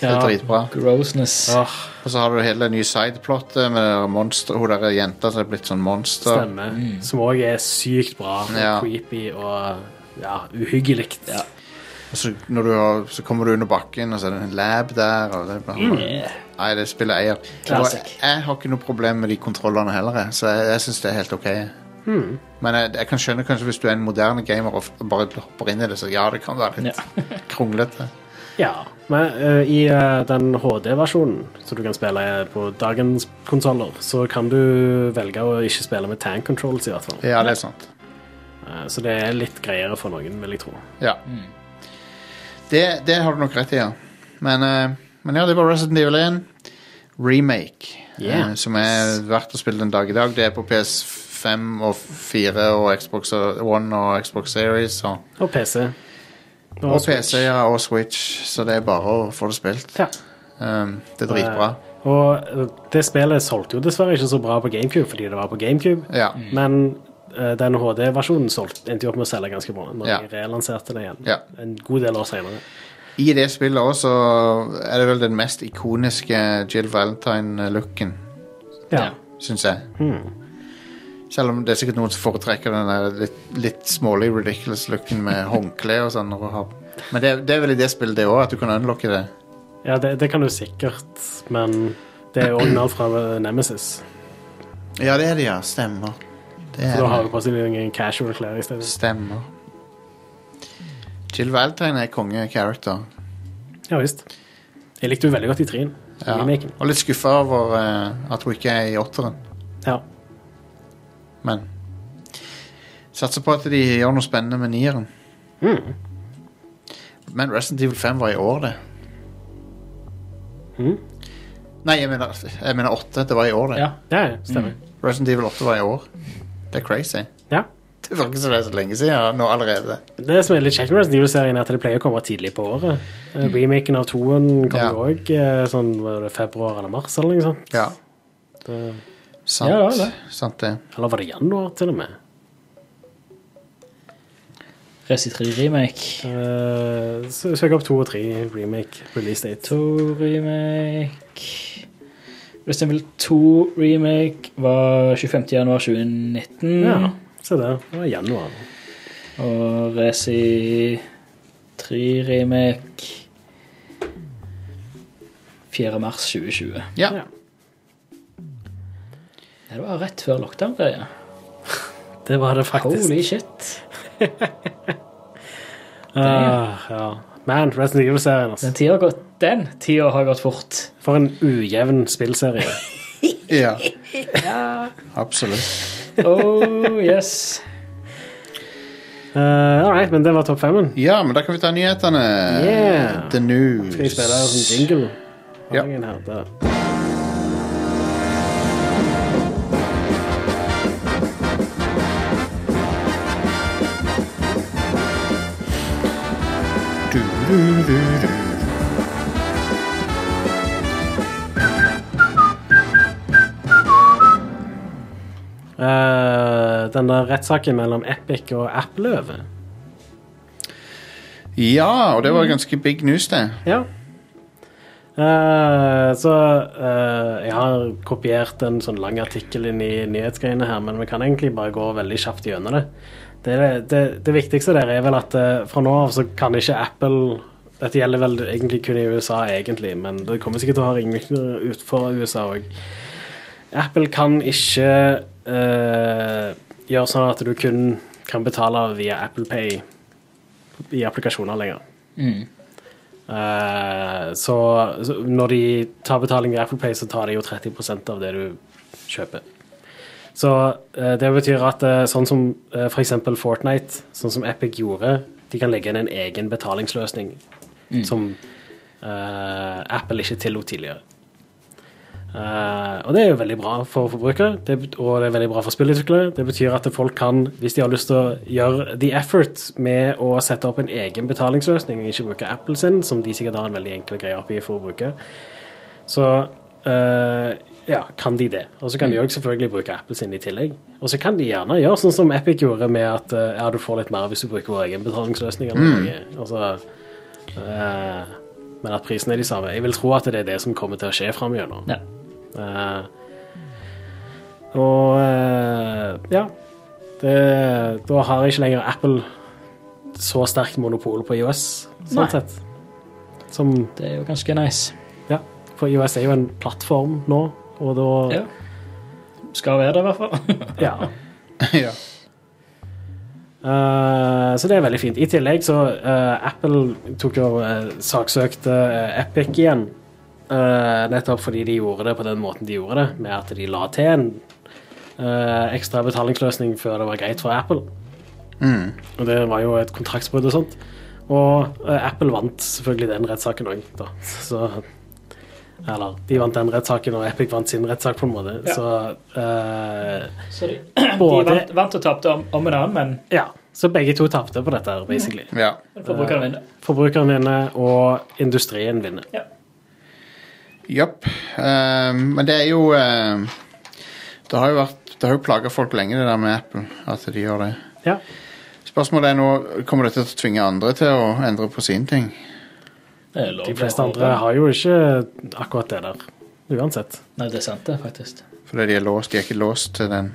B: Det er dritbra.
C: grossness.
D: Åh,
B: Og så har du hele nye sideplottet med monster, hun der jenta som er blitt sånn monster.
D: Stemmer. Som òg er sykt bra. Og
B: Ja.
D: Creepy og ja, uhyggelig. Ja.
B: Og så, når du har, så kommer du under bakken, og så er det en lab der. Og det er bare, Nei, det spiller eier. Og jeg,
C: Classic.
B: jeg har ikke noe problem med de kontrollene heller, jeg, så jeg, jeg syns det er helt OK. Men jeg, jeg kan skjønne kanskje hvis du er en moderne gamer og f- bare hopper inn i det, så ja, det kan være litt kronglete.
D: Men eh, i eh, den HD-versjonen som du kan spille på dagens konsoller, så kan du velge å ikke spille med tank controls, i hvert fall.
B: Ja, det er sant.
D: Eh, så det er litt greiere for noen, vil jeg tro.
B: Ja. Det, det har du nok rett i, ja. Men, eh, men ja, det var Resident Evil 1 remake.
D: Yeah.
B: eh, som er verdt å spille den dag i dag. Det er på PS5 og 4 og Xbox One og Xbox Series og,
D: Og PC.
B: og
D: Switch.
B: PC ja, og Switch. Så det er bare å få det spilt.
D: Ja.
B: Um, det er dritbra.
D: Og eh, det spillet solgte jo dessverre ikke så bra på GameCube fordi det var på GameCube,
B: Ja.
D: men eh, den HD-versjonen solgte- endte jo opp med å selge ganske bra når
B: Ja.
D: de relanserte det igjen
B: Ja.
D: en god del år senere.
B: I det spillet også er det vel den mest ikoniske Jill Valentine-looken,
D: Ja.
B: syns jeg. Hmm. Selv om det er sikkert noen som foretrekker den der litt, litt smålig ridiculous looken med håndkle og sånn. når du har- Men det, det er vel i det spillet det òg, at du kan unlocke det.
D: Ja, det, det kan du sikkert, men det er original fra eh, Nemesis.
B: Ja, det er det, ja. Stemmer. Det
D: Så
B: er
D: da har
B: det.
D: du på seg en casual klær i stedet.
B: Stemmer. Jill Valentine er konge-character.
D: Ja visst. Jeg likte jo veldig godt i trien.
B: Ja.
D: Remaken.
B: Og litt skuffa over eh, at hun ikke er i åtteren,
D: Ja.
B: men Satser på at de gjør noe spennende med nieren. Men Resident Evil 5 var i år, det.
D: Mhm.
B: Nei, jeg mener, jeg mener 8. Det var i år, det.
C: Ja.
D: ja, ja, stemmer.
B: Resident Evil 8 var i år. Det er crazy.
D: Ja.
B: Det virker som det er så lenge siden nå allerede.
D: Det som er litt kjekt med Resident Evil-serien, er at det pleier å komme tidlig på året. Eh, Remaken av toen kom
B: Mm. Ja.
D: jo òg sånn var det februar eller mars, eller noe sånt.
B: Ja,
D: Det-
B: sant
C: Ja,
B: ja,
C: det er det.
B: Sant det.
D: Eller var det januar, til og med?
C: Resi 3 remake.
D: Eh, sø- Søk opp to og tre remake release date.
C: To remake Resident Evil 2 remake var 25. januar 2019.
D: Ja, se der. Det var januar.
C: Og Resi 3 remake 4. mars 2020.
B: Ja.
D: Ja.
C: Det var rett før lockdown. Det, ja.
D: Det var det faktisk.
C: Holy shit.
D: Ah, ja. Man, Resident Evil-serien, altså.
C: Den tida har gått, den tida har gått fort.
D: For en ujevn spillserie.
B: Ja. Absolutt.
C: Oh yes.
D: Uh, All right, men det var topp femmen.
B: Ja, men da kan vi ta nyhetene.
D: Yeah.
B: The news.
D: Skal jeg spille en sånn jingle? Har
B: Ja.
D: jeg en her? Der.
B: Du, du, du, du.
D: Eh, den der rettssaken mellom Epic og Appløv.
B: Ja, og det var ganske big news, det.
D: Ja. Eh, så eh, jeg har kopiert en sånn lang artikkel inn i nyhetsgreiene her, men vi kan egentlig bare gå veldig kjapt gjennom det. Det, det, det viktigste der er vel at eh, fra nå av så kan ikke Apple Dette gjelder vel egentlig kun i USA, egentlig, men det kommer sikkert til å ha ringvirkninger utenfor USA òg. Apple kan ikke eh, gjøre sånn at du kun kan betale via Apple Pay i applikasjoner lenger. Eh, så, så når de tar betaling i Apple Pay, så tar de jo 30 av det du kjøper. Så eh, det betyr at eh, sånn som eh, for eksempel Fortnite, sånn som Epic gjorde, de kan legge inn en egen betalingsløsning som eh, Apple ikke tillot tidligere. Eh, og det er jo veldig bra for forbrukere, det, bet- og det er veldig bra for spillutviklere. Det betyr at folk kan, hvis de har lyst til å gjøre the effort med å sette opp en egen betalingsløsning, og ikke bruke Apple sin, som de sikkert har en veldig enkel greie oppi for å bruke, så eh, ja, kan de det. Og så kan de òg selvfølgelig bruke Apple sin i tillegg. Og så kan de gjerne gjøre sånn som Epic gjorde, med at eh, ja, du får litt mer hvis du bruker vår egen betalingsløsning eller noe. Altså, eh, men at prisene er de samme. Jeg vil tro at det er det som kommer til å skje framover.
C: Ja.
D: Eh, og eh, ja det, Da har ikke lenger Apple så sterkt monopol på IOS, sånn
C: Nei.
D: sett. Som
C: Det er jo ganske nice.
D: Ja, for IOS er jo en plattform nå, og da
C: Ja. Skal være det, i hvert fall.
D: ja.
B: ja.
D: Eh, så det er veldig fint. I tillegg så eh, Apple tok jo eh, saksøkte eh, Epic igjen. Eh, nettopp fordi de gjorde det på den måten de gjorde det, med at de la til en eh, ekstra betalingsløsning før det var greit for Apple. Og det var jo et kontraktsbrudd og sånt. Og eh, Apple vant selvfølgelig den rettssaken òg, da. Så Eller, de vant den rettssaken, og Epic vant sin rettssak, på en måte.
C: Ja.
D: Så eh,
C: Så de, de
D: Både-
C: vant, vant og tapte om, om en annen, men
D: Ja. Så begge to tapte på dette, her, basically.
B: ja.
C: forbrukeren vinner.
D: Forbrukeren vinner, og industrien vinner.
B: Japp. Ehm, men det er jo ehm, Det har jo vært Det har jo plaga folk lenge, det der med Apple. At de gjør det.
D: Ja.
B: Spørsmålet er nå Kommer dette til å tvinge andre til å endre på sine ting?
C: Det er lov
D: De
C: å
D: fleste
C: håpe.
D: andre har jo ikke akkurat det der, uansett.
C: Nei, det er sant, det, faktisk.
B: Fordi de er låst. De er ikke låst til den.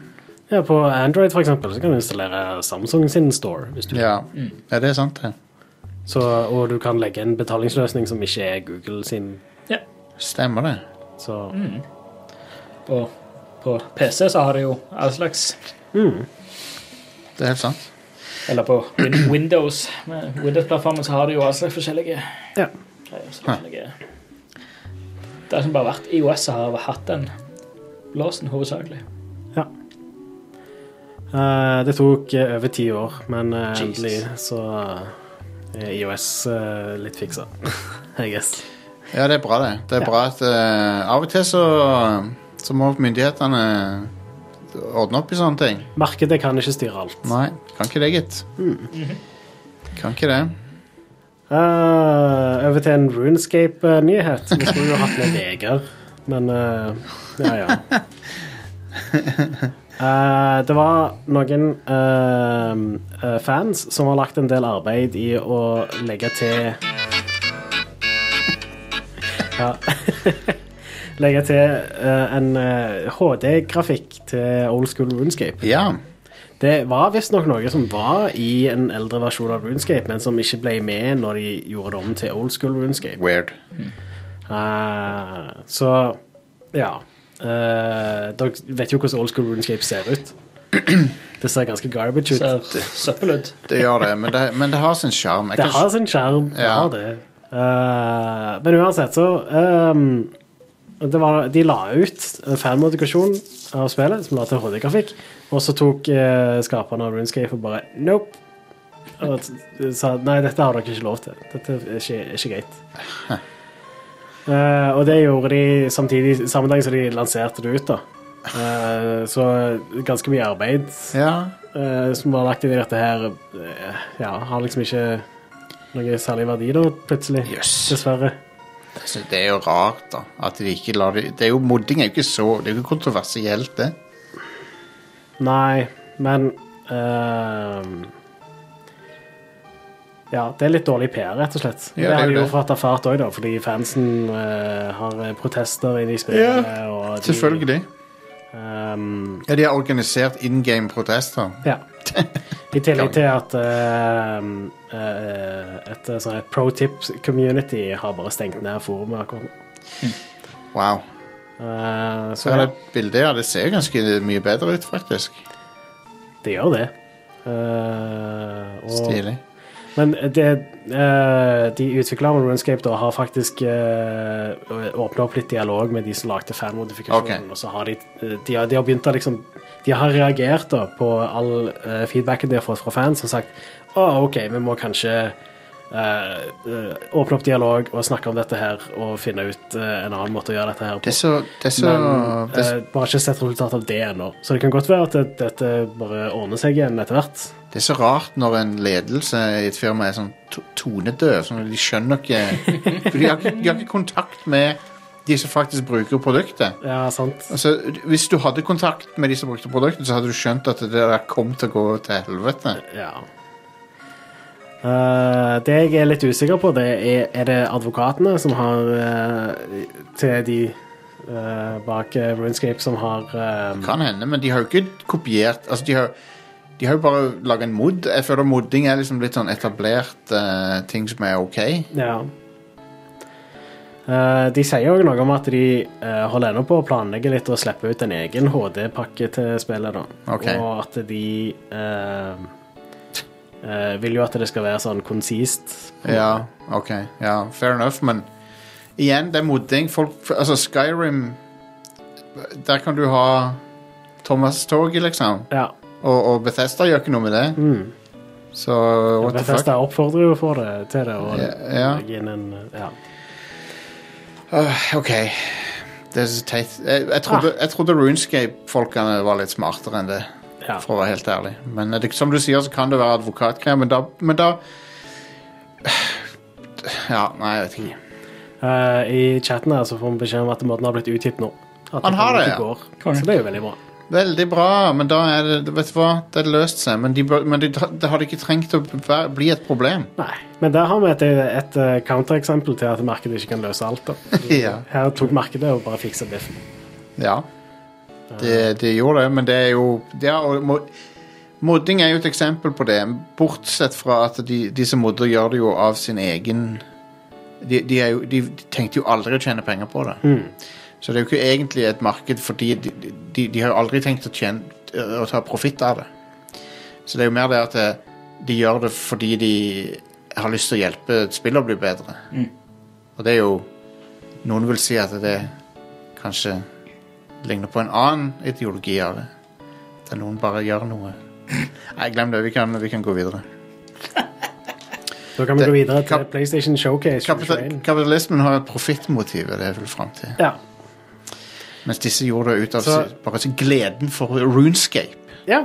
D: Ja, På Android for eksempel, så kan du installere Samsung sin store. Hvis du vil.
B: Ja, ja det er sant, det.
D: Så, og du kan legge en betalingsløsning som ikke er Google sin.
B: Stemmer det.
D: Så
C: Og på PC så har de jo all slags
B: Det er helt sant.
C: Eller på Win- Windows. Med Windows-plattformen så har de jo all slags forskjellige
D: Ja.
C: greier. så forskjellige- Det har liksom bare vært IOS som har hatt den låsen, hovedsakelig.
D: eh, det tok eh, over ti år, men eh,
C: Jesus.
D: endelig så er IOS eh, litt fiksa. I guess.
B: Ja, det er bra, det. Det er bra at eh, Av og til så, så må myndighetene ordne opp i sånne ting.
D: Markedet kan ikke styre alt.
B: Nei, kan ikke det, gitt. Kan ikke det.
D: Eh, over til en RuneScape-nyhet. Vi skulle jo hatt med Vegard, men eh, ja, ja. Eh, det var noen eh, eh, fans som har lagt en del arbeid i å legge til Ja. legge til eh, en HD-grafikk til old school RuneScape.
B: Ja.
D: Det var visstnok noe som var i en eldre versjon av RuneScape, men som ikke ble med når de gjorde det om til old school RuneScape.
B: Weird.
D: Eh, så ja. Eh, dere vet jo hvordan old school RuneScape ser ut. Det ser ganske garbage ut.
C: Ser søppel ut.
B: Det gjør det, men det, men det har sin sjarm. Jeg
D: Det
B: kan
D: har sin skjerm. Det
B: Ja.
D: har det. Eh, men uansett, så ehm, det var, De la ut en fanmodifikasjon av spillet som la til HD-grafikk, og så tok uh, skaperne av Runescape og bare Nope. Og s- sa nei, dette har dere ikke lov til. Dette er ikke, er ikke greit. Eh, og det gjorde de samtidig samme dag som de lanserte det ut. da Eh, Så ganske mye arbeid
B: ikke- ja.
D: eh, som var lagt inn i dette her, eh, ja, har liksom ikke noe særlig verdi da, plutselig.
B: Yes.
D: Dessverre.
B: Jeg synes Altså, Det er jo rart, da. At de ikke lar det Det er jo modding er jo ikke så Det er jo ikke kontroversielt, det.
D: Nei, men ehm, Ja, det er litt dårlig PR, rett og slett.
B: Ja, det er
D: det har
B: jo
D: de jo
B: det.
D: fått erfart òg, da, fordi fansen eh, har protester inne i spillet.
B: Ja,
D: og de,
B: Selvfølgelig.
D: ehm,
B: Ja, de har organisert in game protester.
D: Ja. I tillegg til at ehm, eh, et sånt her pro tips-community har bare stengt ned forumet akkurat nå.
B: Wow.
D: Eh, så
B: Så er det
D: ja,
B: et bilde her. Det ser ganske mye bedre ut, faktisk.
D: det gjør det. Eh, og,
B: Stilig.
D: Men det, eh, de utviklerne av RuneScape da, har faktisk uh, åpna opp litt dialog med de som lagde fanmodifikasjonen.
B: Ok.
D: Og så har de, eh, de, har, de har begynt å liksom De har reagert da, på all eh, feedbacken de har fått fra fans, som sagt Å, OK, vi må kanskje eh, eh, åpne opp dialog og snakke om dette her og finne ut eh, en annen måte å gjøre dette her på.
B: Det er så Det er så,
D: Men
B: det,
D: eh, bare ikke sett resultat av det ennå. Så det kan godt være at det, dette bare ordner seg igjen etter hvert.
B: det er så rart når en ledelse i et firma er sånn to- tonedøv. Sånn at de skjønner ikke For de har ikke, de har ikke kontakt med de som faktisk bruker produktet.
D: Ja, sant.
B: Altså, hvis du hadde kontakt med de som brukte produktet, så hadde du skjønt at det der kom til å gå til helvete.
D: Ja. Eh, det jeg er litt usikker på, det er er det advokatene som har eh, Til de eh, bak eh, RuneScape som har eh,
B: Kan hende, men de har jo ikke kopiert Altså, de har, de har jo bare laga en mod. Jeg føler modding er liksom litt sånn etablert eh, ting som er OK.
D: Ja. Eh, de sier òg noe om at de eh, holder ennå på å planlegge litt og slippe ut en egen HD-pakke til spillet. da.
B: Ok.
D: Og at de eh, eh, vil jo at det skal være sånn konsist.
B: Ja, ok. Ja, fair enough, men igjen, det er modding. Folk, altså, Skyrim Der kan du ha Thomas-toget, liksom.
D: Ja.
B: Og, og Bethesda gjør ikke noe med det. Så what the fuck.
D: Bethesda oppfordrer jo for det, til det. Og
B: Ja, ja.
D: legge inn en, eh, ja.
B: Øh, OK. Det er så teit. Jeg, jeg trodde, jeg trodde Runescape-folkene var litt smartere enn det,
D: Ja.
B: for å være helt ærlig. Men eh, det, som du sier, så kan det være advokatgreier, men da, men da Ja, nei, jeg vet ikke.
D: Eh, I chatten her så får vi beskjed om at måten har blitt utgitt nå. At
B: Han har
D: kom
B: det,
D: ut i
B: ja.
D: går.
C: Konge.
D: Så det er jo veldig bra.
B: Veldig bra, men da er det Vet du hva, det har løst seg. Men, de, bør- men det- det har ikke trengt å være- bli et problem.
D: Nei. Men der har vi et, et eh, countereksempel til at markedet ikke kan løse alt. da.
B: ja.
D: Her tok markedet og bare fiksa biffen.
B: ja. Det, det gjorde det, men det er jo ja, og mo- Modding er jo et eksempel på det, bortsett fra at de, de som modder, gjør det jo av sin egen de, de, er jo, de tenkte jo aldri å tjene penger på det. Så det er jo ikke egentlig et marked, fordi de, de, de har jo aldri tenkt å, tjene, å ta profitt av det. Så det er jo mer det at eh, de gjør det fordi de har lyst til å hjelpe et spill å bli bedre. Og det er jo Noen vil si at det kanskje ligner på en annen ideologi av det. Der noen bare gjør noe. Nei, glem det. Vi kan, vi kan gå videre.
D: Da kan vi
B: Det-
D: gå videre til
B: kap-
D: PlayStation Showcase.
B: Kapital,
D: 2021.
B: kapitalismen har et profittmotiv, det er jeg vil fram til.
D: Ja.
B: Mens disse gjorde det ut av
D: Så-
B: si- bare sin gleden for runescape.
D: ja.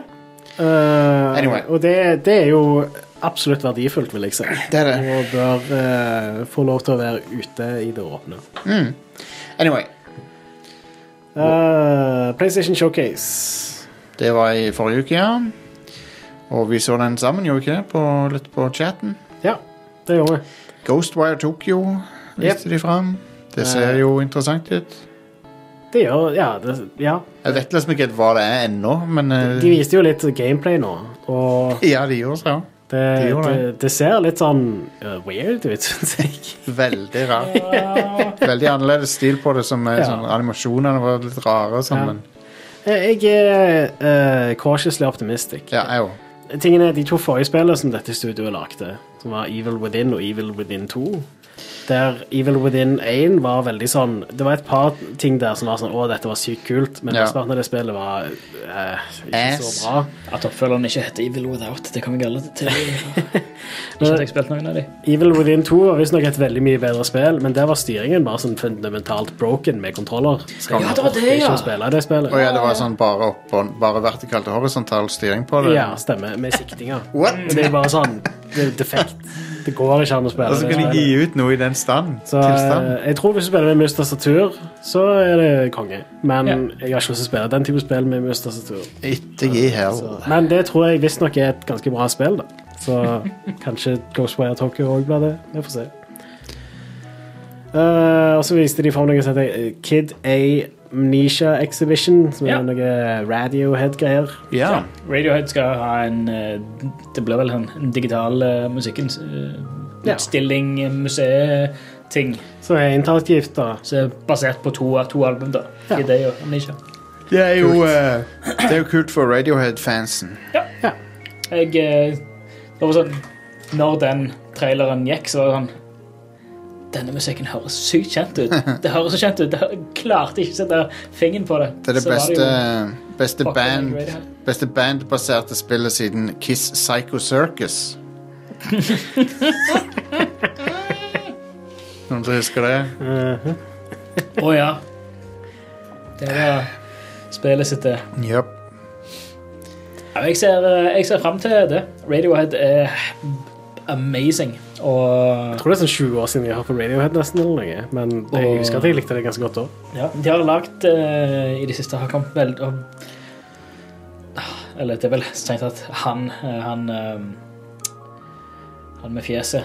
D: Eh,
B: Anyway.
D: Og det, det er jo absolutt verdifullt, vil jeg si.
B: Det er det.
D: Og bør eh, få lov til å være ute i det åpne.
B: Anyway,
D: Eh, PlayStation Showcase.
B: det var i forrige uke, ja. Og vi så den sammen, gjorde vi ikke det? På, litt på chatten.
D: Ja, det gjorde vi.
B: Ghostwire Tokyo viste de fram. Det
D: Eh.
B: ser jo interessant ut.
D: Det gjør Ja. Det, ja.
B: Jeg vet liksom ikke helt hva det er ennå, men eh,
D: De viste jo litt gameplay nå, og
B: Ja, de gjorde det. ja.
D: det,
B: De
D: det,
B: gjorde det.
D: det ser litt sånn uh, weird ut, syns jeg.
B: Veldig rart. Veldig annerledes stil på det, som er
D: Ja.
B: sånn, animasjonene var litt rare og sånn,
D: Ja.
B: men
D: Eh, Jeg er eh, cautiously optimistic.
B: Ja, jeg òg.
D: Tingen er, De to forrige spillene som dette studioet lagde, som var Evil Within og Evil Within 2 Der Evil Within 1 var veldig sånn Det var et par ting der som var sånn Å, dette var sykt kult, men
B: Ja.
D: mesteparten av det spillet var eh, ikke
B: Ass.
D: så bra.
C: At oppfølgeren ikke heter Evil Without, det kan vi alle til. Ikke at jeg spilte noen av de.
D: Evil Within 2 var visstnok et veldig mye bedre spill, men der var styringen bare sånn fundamentalt broken med kontroller. Så
B: Ja,
D: jeg
C: det var
D: orker
C: det,
D: ikke
C: ja.
D: å spille det spillet.
B: Å ja, det var sånn bare opp og bare vertikalt og horisontal styring på det?
D: Ja, stemmer. Med siktinger.
B: What?
D: Det er bare sånn Det er defekt. Det går ikke an å spille.
B: Altså,
D: det
B: kan de
D: spillet.
B: gi ut noe i den stand?
D: så
B: tilstand?
D: eh, jeg tror hvis du spiller med mus og tastatur, så er det konge. Men
C: Ja.
D: jeg har ikke lyst til å spille den type spill med mus og tastatur.
B: Ikke gi hell.
D: Så- Men det tror jeg visstnok er et ganske bra spill, da. Så kanskje Ghostwire Tokyo òg blir det. Vi får se. Eh, og så viste de fram noe som heter eh, Kid Amnesia Exhibition, som er
C: Ja.
D: noe Radiohead-greier.
B: Ja.
C: Radiohead skal ha en eh, Det blir vel en en digital eh, musikkens eh,
D: Ja.
C: utstilling, eh, museeting.
D: Så er interaktivt, da.
C: Som er basert på to, to album, da.
D: Ja.
C: I det og Amnesia.
B: Det er jo eh, Det er jo kult for Radiohead-fansen.
C: Jeg eh, Det var sånn Når den traileren gikk, så var det sånn Denne musikken høres sykt kjent ut. Det høres så kjent ut. Jeg klarte ikke å sette fingeren på det.
B: Det er det
C: Så var
B: beste, beste,
C: jo fucking
B: band,
C: Radiohead.
B: beste bandbaserte spillet siden Kiss Psycho Circus. Noen som husker det?
D: Mhm.
C: Å ja. Det var spillet sitt, det.
B: Yep.
C: Ja, jeg ser, eh, jeg ser fram til det. Radiohead er amazing.
D: Jeg
C: Og
D: tror det er sånn 20 år siden jeg har hørt på Radiohead nesten eller noe, men jeg
C: Og-
D: husker at jeg likte det ganske godt da.
C: ja, de har lagd eh, i det siste har kommet vel og, Ah, Eller det er vel strengt tatt han eh, Han eh, Han med fjeset.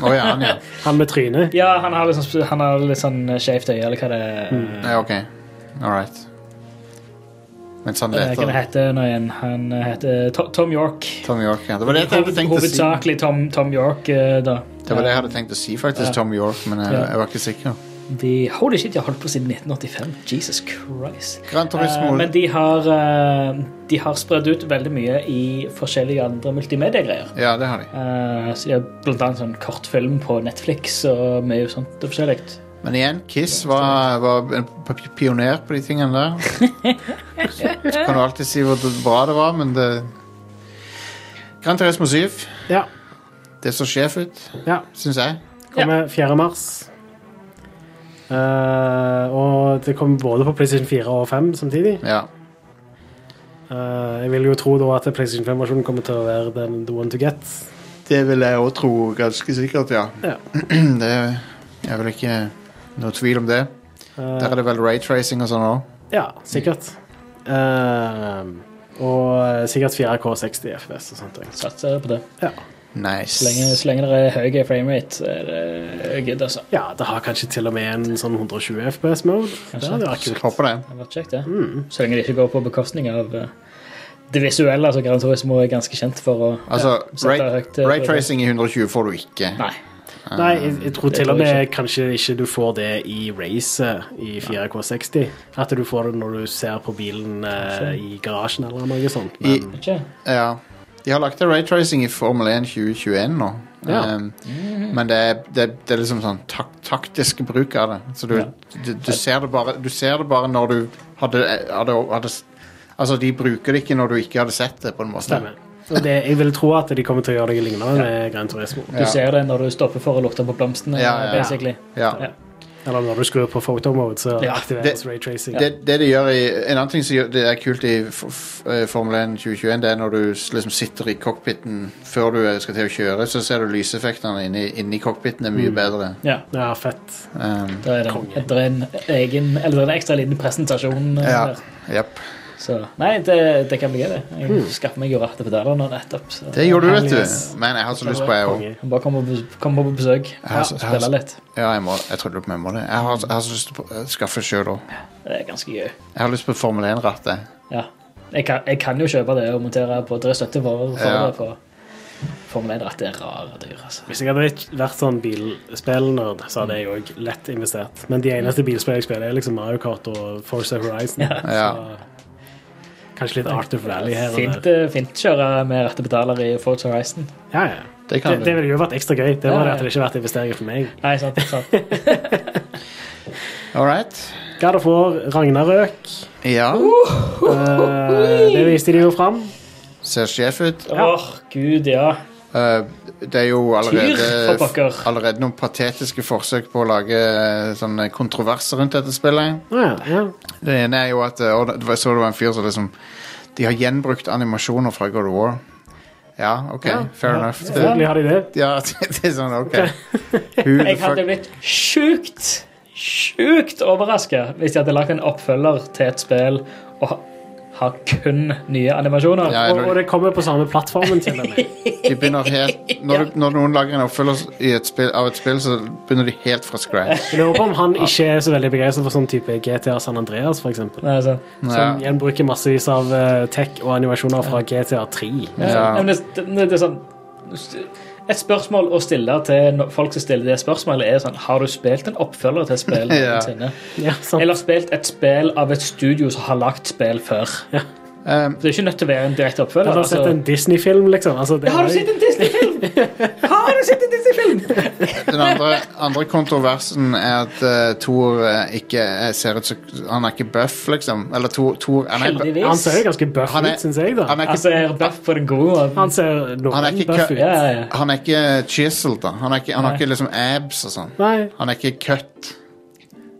B: Å ja, han, ja.
D: Han med trynet.
C: Ja, han har litt sånn, han har litt sånn skjevt øye, eller hva det er.
B: ja. OK. All right. Mens han
C: Eh, Hva det
B: leter.
C: heter nå igjen? Han eh, heter To- Tom York.
B: Tom York, ja. Det var det jeg hadde
C: Hoved,
B: tenkt å si.
C: hovedsakelig Tom, Tom York, eh, da.
B: Det var det jeg hadde tenkt å si, faktisk.
C: Ja.
B: Tom York, men jeg,
C: Ja.
B: jeg var ikke sikker.
C: De, holy shit, de har holdt på siden 1985. Jesus Christ.
B: Gran
C: Eh,
B: Turismo
C: men de har, eh, de har spredd ut veldig mye i forskjellige andre multimediegreier.
B: Ja, det har de.
C: Eh, så de har blant annet sånn kortfilm på Netflix og mye sånt forskjellig.
B: Men igjen, Kiss var, var en p- pioner på de tingene der. Så kan du alltid si hvor bra det var, men det Gran Turismo 7.
D: Ja.
B: Det så sjef ut,
D: ja.
B: syns jeg.
D: Kommer 4. mars. Eh, og det kommer både på PlayStation 4 og 5 samtidig.
B: Ja.
D: Eh, jeg vil jo tro da at PlayStation 5-versjonen kommer til å være den the one to get.
B: Det vil jeg òg tro, ganske sikkert, ja.
D: Ja.
B: Det er vel ikke noe tvil om det.
D: Eh,
B: Der er det vel raytracing og sånn òg.
D: Ja, sikkert. Eh, og sikkert 4K60 FBS og sånt. også.
C: Satser på det.
D: Ja.
C: Så lenge,
B: Nice.
C: så lenge det er høy framerate, så er det good, altså.
D: ja, det har kanskje til og med en sånn 120 FPS-mode. Det hadde vært kult. Mm.
B: Håper det.
C: Det har vært kjekt, det. Så lenge det ikke går på bekostning av eh, det visuelle, altså Gran Turismo er ganske kjent for å
B: Altså,
C: sette
B: ray-
C: høyt, eh,
B: raytracing i 120 får du ikke.
C: Nei.
D: Nei, jeg, jeg tror
C: Eh, det
D: til og
C: tror jeg
D: med kanskje ikke du får det i racet i 4K60. At du får det når du ser på bilen eh, i garasjen eller noe sånt.
B: I-
D: Men,
C: Ikke?
B: Ja. De har lagt til raytracing i Formel 1 2021 nå.
D: Ja.
B: Um, men det er, det, er- det er liksom sånn tak taktisk bruk av det. Så du, du, du, ser det bare, du ser det bare når du hadde, hadde, hadde Altså, de bruker det ikke når du ikke hadde sett det, på en måte.
D: stemmer. Og det, jeg vil tro at de kommer til å gjøre noe lignende med Gran Turismo.
C: Du ser det når du stopper for å lukte på blomstene,
B: Ja, ja, ja.
C: basically.
B: Ja.
C: Ja.
D: Eller når du skrur på photomode, så
C: Ja,
D: aktiveres raytracing.
B: Det, det de gjør i, En annen ting som gjør- det er kult i f- f- eh, Formel 1 2021, det er når du s- liksom sitter i cockpiten før du eh, skal til å kjøre, så ser du lyseffektene inni, inni cockpiten er
C: Mm.
B: mye bedre.
C: ja.
D: Ja, fett.
B: Um,
C: Da er det en,
D: Konge.
C: det er en egen Eller det er en ekstra liten presentasjon eh,
B: ja.
C: der.
B: Jepp.
C: Så Nei, det, det kan bli gøy, det. Jeg skaffer meg jo rette pedaler nå nettopp. Så.
B: Hmm. Det gjorde du, vet
D: Herliges.
B: du. Men jeg har så lyst på jeg òg.
D: Konge.
C: Jeg Bare kom på, bes- kom på besøk
B: Jeg har
C: og
B: så- jeg har så-
C: spille litt.
B: Ja, jeg, må, jeg tror jeg må det. Jeg har, jeg har så lyst til å skaffe sjøl òg.
C: Det er ganske gøy.
B: Jeg har lyst på Formel 1-ratt. jeg.
C: Ja. Jeg kan, jeg kan jo kjøpe det og montere på Det er støtte for, for
B: Ja.
C: det på Formel 1 at det er rare dyr, altså.
D: Hvis jeg hadde vært- vært sånn bilspillnerd, så hadde jeg òg lett investert. Men de eneste bilspillene jeg spiller, er liksom Mario Kart og Forza Horizon.
C: Ja.
B: Ja.
D: Så Kanskje litt Art of Rally her. og
C: Fint,
D: der.
C: eh, fint kjøre med rette pedaler i Forge Horizon.
D: Ja, ja.
B: Det
D: Det,
B: kan
D: det
B: du.
D: ville jo vært ekstra gøy. Det
C: Ja,
D: var det
C: ja.
D: at det ikke vært investeringer for meg.
C: Nei, sant, sant.
B: All right.
D: God of War, Ragnarøk.
B: Ja.
C: Uh!
D: Eh, det viste de jo fram.
B: Ser sjef ut.
C: Åh, gud, ja.
B: Eh, det er jo
C: Tyr, for
B: allerede,
C: pokker.
B: allerede noen patetiske forsøk på å lage eh, sånne kontroverser rundt dette spillet.
D: Ja, ja.
B: Det ene er jo at eh, og det var- så det var en fyr som liksom De har gjenbrukt animasjoner fra God of War. Ja, OK. Fair enough. Det,
D: Selvfølgelig har de det.
B: ja, det er sånn OK. Who the
C: Jeg hadde
B: fuck
C: blitt sjukt, sjukt overraska hvis jeg hadde lagt en oppfølger til et spill og ha, ha kun nye animasjoner.
B: ja,
D: Og, og
B: når,
D: det kommer på samme plattformen til og med.
B: de begynner helt, når, du- når noen lager en oppfølger i et spill, av et spill, så begynner de helt fra scratch.
D: Jeg lurer på om han ikke er så veldig begeistret for sånn type GTA San Andreas, f.eks.
C: Nei, sant.
B: Ja.
D: Som gjenbruker massevis av eh, tech og animasjoner fra GTA 3.
C: Ja, men det, det, det er sånn Et spørsmål å stille til no- folk som stiller det spørsmålet, er sånn Har du spilt en oppfølger til et spill
B: Ja.
C: noensinne?
D: Ja, sant.
C: Eller spilt et spill av et studio som har lagt spill før?
B: Um,
C: Det er ikke nødt til å være en direkte
D: Har
C: oppfølger.
D: du sett en
C: Altså.
D: Disney-film, liksom? Altså, det
C: Har
D: var
C: du
D: jo-
C: sett en Disney-film?! Har du sett en Disney-film?!
B: Den andre, andre kontroversen er at eh, Thor eh, ikke eh, ser ut som Han er ikke buff, liksom. Eller Thor, Thor han, er, ikke-
C: Heldigvis.
D: Han ser jo ganske buff
B: Han er-
D: ut, syns jeg. da
B: han, er
C: Altså,
B: ikke,
C: er Buff på den gode måten?
D: Han ser
B: Han er
D: noen
B: ikke
D: buff
B: kø-
D: ut.
C: Ja, ja, ja.
B: han er ikke chiseled, da. Han, er ikke, han har ikke liksom abs og sånn.
D: Nei.
B: Han er ikke cut.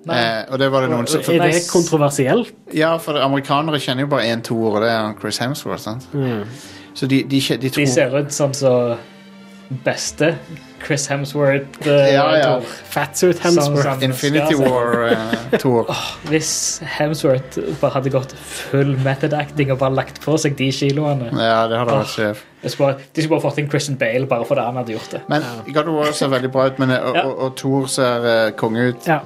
C: Nei.
B: Eh, og det var det noen som
D: Er det kontroversielt?
B: Ja, for amerikanere kjenner jo bare én Thor, og det er han Chris Hemsworth. sant? Så de, de, kje- de
C: De
B: tror
C: ser ut som så beste Chris Hemsworth. eh,
B: Ja, ja.
C: Thor.
D: Fatsuit
C: Sånn
D: Hemsworth.
C: som-
B: Infinity eh,
C: Ja, så-
B: War-Thor.
C: Hvis Hemsworth bare hadde gått full method acting og bare lagt på seg de kiloene
B: ja, det hadde vært sjef.
C: De skulle bare, de skulle bare fått inn Christian Bale bare fordi han hadde gjort det.
B: Men God of War ser veldig bra ut, men, eh, og,
C: Ja.
B: og, og Thor ser eh, konge ut.
D: Ja.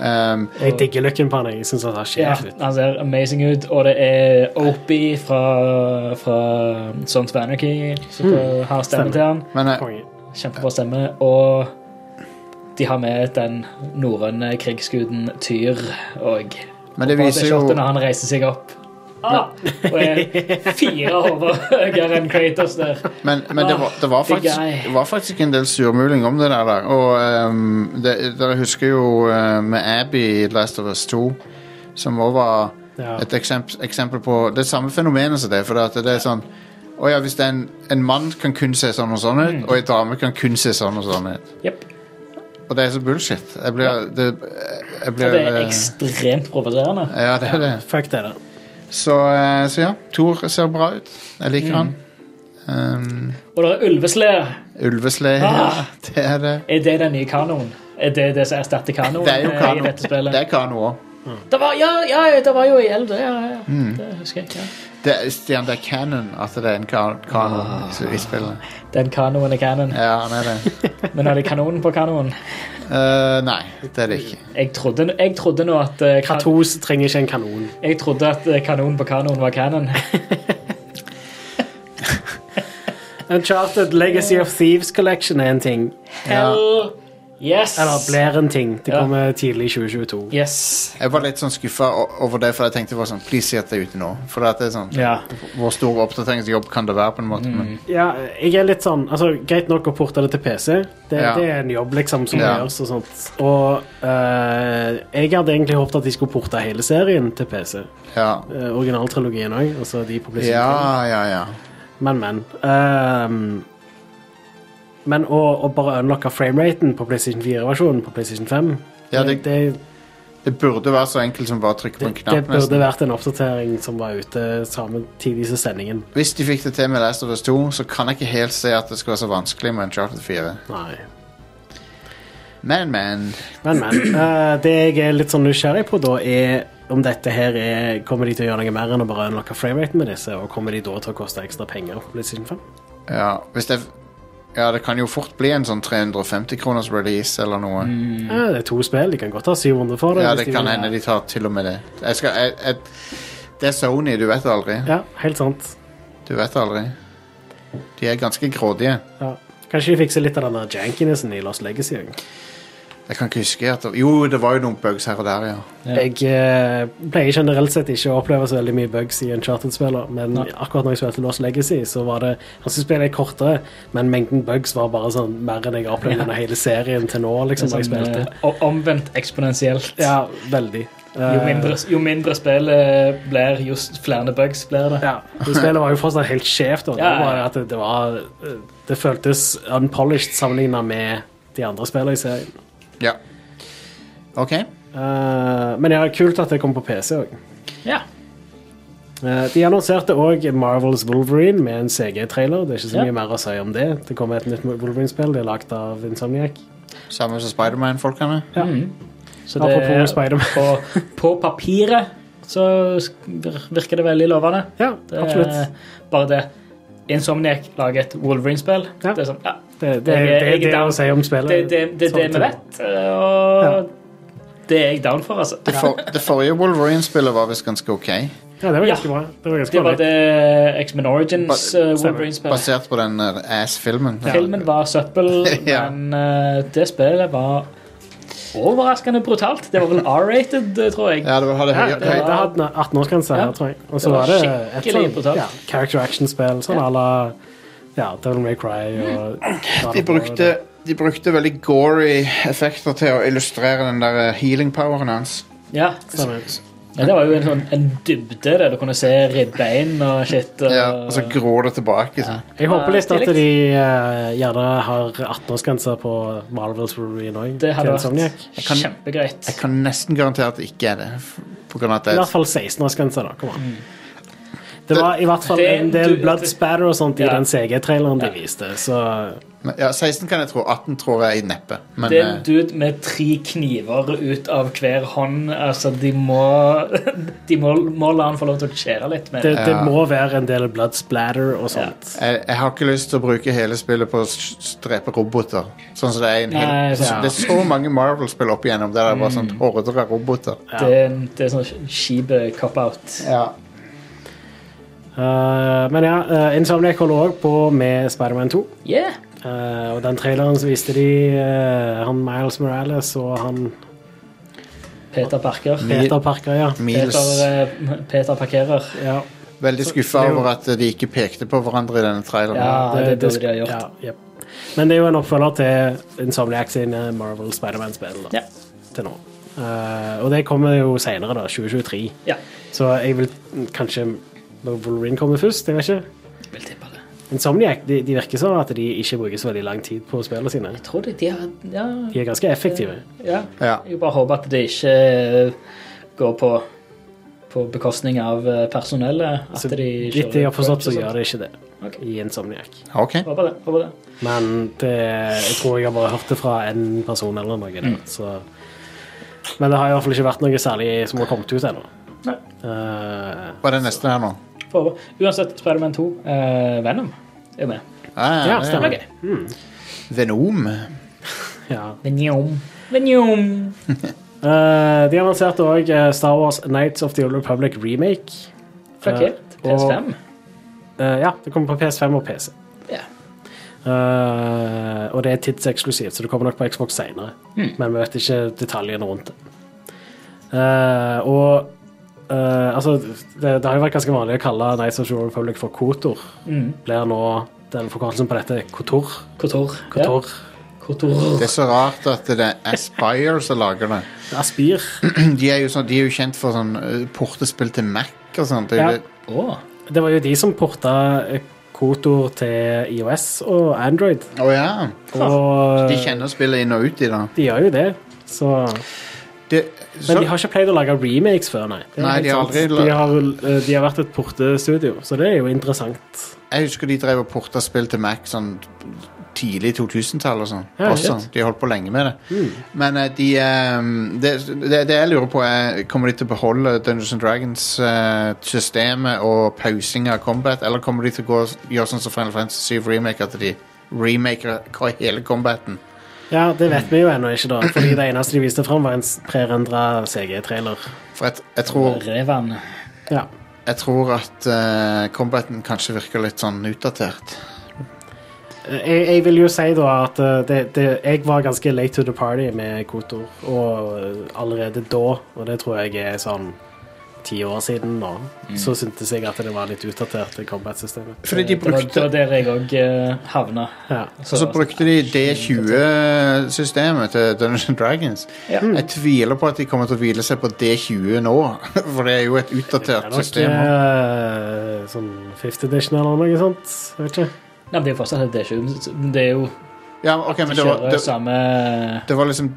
B: Um,
D: Jeg digger looken på han. Jeg syns han har
C: Ja,
D: sjef ut.
C: han ser amazing ut, og det er Opie fra, fra Sons of Anarchy som
D: Mm.
C: har stemmen til han.
B: men eh,
D: Konge.
C: Kjempebra stemme. Og de har med den norrøne krigsguden Tyr og
B: Men det
C: og bare
B: viser jo-
C: shotet Når han reiser seg opp. Ah, og er fire hoder høyere enn Kratos der.
B: Men, men det, var, det, var
C: Big
B: faktisk,
C: guy.
B: det var faktisk en del surmuling om det der. da. Og ehm, det, Dere husker jo eh, med Abby i Last of Us 2, som også var
D: Ja.
B: et eksempel, eksempel på det samme fenomenet som det. For at det er sånn å ja, hvis det er en, en mann kan kun se sånn og sånn ut,
C: Mm.
B: og en dame kan kun se sånn og sånn ut.
C: Jep.
B: Og det er så bullshit. Jeg blir, det, jeg
C: Og
B: blir
C: det er
B: eh,
C: ekstremt provoserende.
B: Ja, det er det.
D: Fuck det, da.
B: Så, eh, så ja, Thor ser bra ut. Jeg
C: Mm.
B: liker han. Ehm,
C: Og det er ulveslede.
B: Ulveslede, ja.
C: Ah.
B: Det er det.
C: Er det den nye kanoen? Er det det som erstatter kanoen?
B: Det er jo
C: eh,
B: kano.
C: i dette spillet?
B: Det er Mm. kano òg.
C: Det var, ja, ja, det var jo i elv, det. Ja, ja. Det husker jeg. Ja.
B: Det, er- Stian, det er canon at det er en kan kano i- i spillet.
C: Den kanoen er canon.
B: Ja, han er det.
C: Men er det kanonen på kanoen?
B: Eh, nei, det er det ikke.
C: Jeg trodde, jeg trodde nå at eh, kan,
D: Kratos trenger ikke en kanon.
C: Jeg trodde at eh, kanonen på kanoen var canon.
D: Uncharted Legacy of Thieves Collection er en ting.
C: Hell yes!
D: Eller blir en ting. Det
C: Ja.
D: kommer tidlig i 2022.
C: Yes.
B: Jeg var litt sånn skuffa over det, for jeg tenkte det var sånn, please si at det er ute nå. For at det er sånn,
C: Ja.
B: Hvor stor oppdateringsjobb kan det være? på en måte men,
D: Ja, jeg er litt sånn altså, Greit nok å porte det til PC. Det,
B: Ja.
D: det er en jobb liksom som
B: Ja.
D: gjøres og sånt. Og eh, jeg hadde egentlig håpet at de skulle porte hele serien til PC.
B: ja.
D: Eh, originaltrilogien òg. Altså de publiserte.
B: ja, ja, ja.
D: Men, men. Ehm, men å, å bare unlocke frameraten på PlayStation 4-versjonen på PlayStation 5
B: Ja, det-
D: det,
B: Det burde være så enkelt som bare å trykke på en
D: det, det
B: knapp.
D: burde
B: nesten.
D: vært en oppdatering som var ute samme tid som sendingen.
B: Hvis de fikk det til med Last of Us 2, så kan jeg ikke helt se at det skal være så vanskelig med en Charter 4.
D: Nei.
B: Men, men.
D: Men, men. eh, det jeg er litt sånn nysgjerrig på, da, er om dette her er Kommer de til å gjøre noe mer enn å bare unlocke frameraten med disse, og kommer de da til å koste ekstra penger på PlayStation 5?
B: Ja, hvis det Ja, det kan jo fort bli en sånn 350 kroners release eller noe.
D: Eh, det er to spill, de kan godt ha 700 for
B: Mm.
D: det.
B: Ja,
D: hvis
B: det
D: de
B: kan
D: vil.
B: hende de tar til og med det. Jeg skal, jeg, jeg, det er Sony, du vet aldri.
D: Ja, helt sant.
B: Du vet aldri. De er ganske grådige.
D: Ja. Kanskje de fikser litt av den der jankinessen i Lost Legacy. også.
B: Jeg kan ikke huske at Jo, det var jo noen bugs her og der, ja.
C: Ja.
D: Jeg eh, pleier generelt sett ikke å oppleve så veldig mye bugs i en charted-spiller, men
C: Nei.
D: akkurat når jeg spilte Lost Legacy, så var det Jeg synes spillet er kortere, men mengden bugs var bare sånn mer enn jeg har opplevd gjennom hele serien til nå, liksom, når jeg
C: Sånn,
D: spilte.
C: eh, o- omvendt eksponentielt.
D: Ja, veldig.
C: Jo
D: Eh,
C: mindre, jo mindre spillet blir, jo s- flere bugs blir det.
D: Ja, det spillet var jo fortsatt helt skjevt. Og det,
C: Ja, ja, ja.
D: var bare at det, det, var, eh, det føltes unpolished sammenlignet med de andre spillene i serien.
B: Ja. OK.
D: Eh, men ja, kult at det kom på PC òg.
C: Ja.
D: Eh, de annonserte òg Marvels Wolverine med en CG-trailer. Det er ikke så
C: Ja.
D: mye mer å si om det. Det kommer et nytt Wolverine-spill. Det er lagd av Insomniac.
B: Samme som Spiderman-folkene.
D: Ja.
C: Mhm. Så det er
D: Apropos Spiderman.
C: på, på papiret så sk- vir- virker det veldig lovende.
D: Ja,
C: Det
D: absolutt.
C: er bare det. Insomniac lager et Wolverine-spill.
D: Ja.
C: Det er sånn, ja,
D: Det, det, det, det,
C: jeg er
D: det er
C: down.
D: å si om spillet.
C: det, det, det, er det vi
D: Sånn til.
C: vet, og det er jeg down for, altså.
B: Det, for, det forrige Wolverine-spillet var visst ganske OK.
D: Ja, det var
C: Ja.
D: ganske bra. Det var ganske
C: Det var
D: bra.
C: det X-Men Origins
B: Ba-
C: eh,
D: stemmer.
C: Wolverine-spillet.
B: Basert på den eh, ass-filmen.
C: Filmen var søppel,
B: Ja.
C: men eh, det spillet var overraskende brutalt. Det var vel R-rated, eh, tror jeg.
B: Ja, det var, hadde
D: Ja,
B: høy,
D: det det
B: høy,
D: hadde en 18-årsgrense her,
C: Ja.
D: tror jeg. Og så
C: Det var
D: var det et
C: skikkelig
D: sånn
C: brutalt.
D: ja, character action-spill, sånn
C: Ja. Mm.
D: à la ja, Devil May Cry og
B: de, brukte, de brukte veldig gory effekter til å illustrere den der eh, healing-poweren hans.
C: Ja.
D: Stemmer.
C: Ja, det var jo en, sånn, en dybde der du kunne se ribbein og shit. Og,
B: Ja, og så gror det tilbake. sånn.
D: Jeg håper
C: Ja,
D: litt at
C: tillegg.
D: de eh, gjerne har 18-årsgrense på Marvels Wolverine òg.
C: det hadde
D: Insomniac.
C: vært kjempegreit.
B: Jeg kan nesten garantere at det ikke er det. f- På grunn av at
D: I
B: det
D: hvert
B: er
D: fall 16-årsgrense, da. Kom an. Det var i hvert fall
C: Det-
D: en del
C: du-
D: blood
C: det-
D: spatter og sånt i
C: Ja.
D: den CG-traileren de
C: Ja.
D: viste, så
B: Men, Ja, 16 kan jeg tro. 18 tror jeg neppe. Men
C: Det er en
B: eh,
C: dude med tre kniver ut av hver hånd. Altså, de må De må, må la han få lov til å skjære litt med
D: det, det
B: Ja.
D: må være en del blood splatter og sånt.
B: jeg, jeg har ikke lyst til å bruke hele spillet på å s- s- drepe roboter. Sånn som Det er i en hel,
C: Nei,
B: så,
D: ja.
B: Det er så mange Marvel-spill opp igjennom der det er bare sånn horder av roboter.
D: Ja.
C: Det, er en- det er sånn skibe cop-out.
B: Ja.
D: Eh, men ja, uh, Insomniac holder òg på med Spiderman 2.
C: Yeah.
D: Eh, og den traileren så viste de eh, han Miles Morales og han
C: Peter Parker.
D: Peter Parker, ja.
B: Miles.
C: Peter, eh, Peter parkerer.
D: ja.
B: Veldig skuffa
D: det er jo-
B: over at de ikke pekte på hverandre i denne traileren.
C: Ja, det burde de ha gjort.
D: ja, jep. Men det er jo en oppfølger til Insomniac sine Marvel Spiderman-spill da,
C: Ja.
D: til nå. Eh, og det kommer jo seinere, da. 2023.
C: Ja.
D: Så jeg vil kanskje Wolverine kommer først. Jeg vet ikke.
C: Jeg vil tippe det.
D: Insomniac de, de virker sånn at de ikke bruker så veldig lang tid på spillene sine.
C: Jeg tror de, de har Ja.
D: De er ganske effektive.
C: ja.
B: Ja.
C: Jeg bare håper at det ikke eh, går på på bekostning av eh, personellet. At
D: Så
C: de
D: vidt jeg har forstått, så gjør
C: det.
D: de ikke det
C: Ok.
D: i Insomniac.
B: Ok.
C: Håper det. håper det.
D: Men det, jeg tror jeg har bare hørt det fra en person eller noe. der, Så. Men det har i hvert fall ikke vært noe særlig som har kommet ut ennå.
C: Nei.
D: Eh,
B: Hva er det neste her nå?
C: Får håpe. Uansett, Spiderman 2, eh, Venom, er med.
B: Ah,
D: ja,
B: det er
D: stemmer.
C: Ok.
B: Venom.
D: Ja.
C: Venom. Venom.
D: Eh, de annonserte òg Star Wars Nights of the Old Republic remake.
C: Fra
D: Eh,
C: Kate. PS5.
D: Eh, ja, det kommer på PS5 og PC.
C: Ja.
D: Eh, og det er tidseksklusivt, så det kommer nok på Xbox senere. Men vi vet ikke detaljene rundt det. Eh, og eh, altså, det, det har jo vært ganske vanlig å kalle Nights of the Old Republic for Kotor.
C: Mm.
D: Blir nå den forkortelsen på dette Kotor.
C: Kotor.
D: Kotor.
C: Ja. Kotor.
B: Det er så rart at det er Aspire som lager det.
D: Aspir.
B: De er jo, sånn, de er jo kjent for sånn eh, portespill til Mac og sånt. Det er jo
D: Ja.
B: det-
C: Åh.
D: Det var jo de som porta eh, Kotor til IOS og Android.
B: Å ja.
D: Og eh,
B: De kjenner spillet inn og ut i det.
D: de gjør jo det. Så
B: det så,
D: Men de har ikke pleid å lage remakes før, nei. Det er
B: Nei,
D: helt
B: de har
D: sant.
B: aldri la-
D: de, har, eh, de har vært et portestudio, så det er jo interessant.
B: Jeg husker de drev og porta spill til Mac sånn tidlig 2000-tall og sånn.
D: Ja,
B: Også.
D: shit.
B: De holdt på lenge med det. Men eh, de eh, det, det, det jeg lurer på, er kommer de til å beholde Dungeons and Dragons-systemet og pausing av combat, eller kommer de til å gå, gjøre sånn som Final Fantasy 7 Remake, at de remaker hva- hele combaten?
D: Ja, det vet vi jo ennå ikke, da. Fordi det eneste de viste fram, var en s- prerendra CG-trailer.
B: For jeg, jeg, tror,
C: Revan.
D: Ja.
B: jeg tror at eh, combaten kanskje virker litt sånn utdatert.
D: Jeg, jeg vil jo si da at eh, det, det, jeg var ganske late to the party med Kotor, og eh, allerede da, og det tror jeg er sånn ti år siden nå, så syntes jeg at det var litt utdatert, det combat-systemet.
B: Mm. Fordi de
C: Det var, det var
B: brukte
C: der jeg eh, òg havna.
D: Ja.
B: og så brukte de D20-systemet til Dungeons and Dragons.
C: Ja.
B: Jeg tviler på at de kommer til å hvile seg på D20 nå, for det er jo et
D: Det er
B: utdatert
D: nok
B: system.
D: eh, sånn fifth edition eller noe sånt. Jeg vet ikke.
C: Nei, men det er jo fortsatt et D20. Det er jo
B: Ja, men ok, men
C: de
B: det var,
C: kjører
B: det,
C: samme
B: det var liksom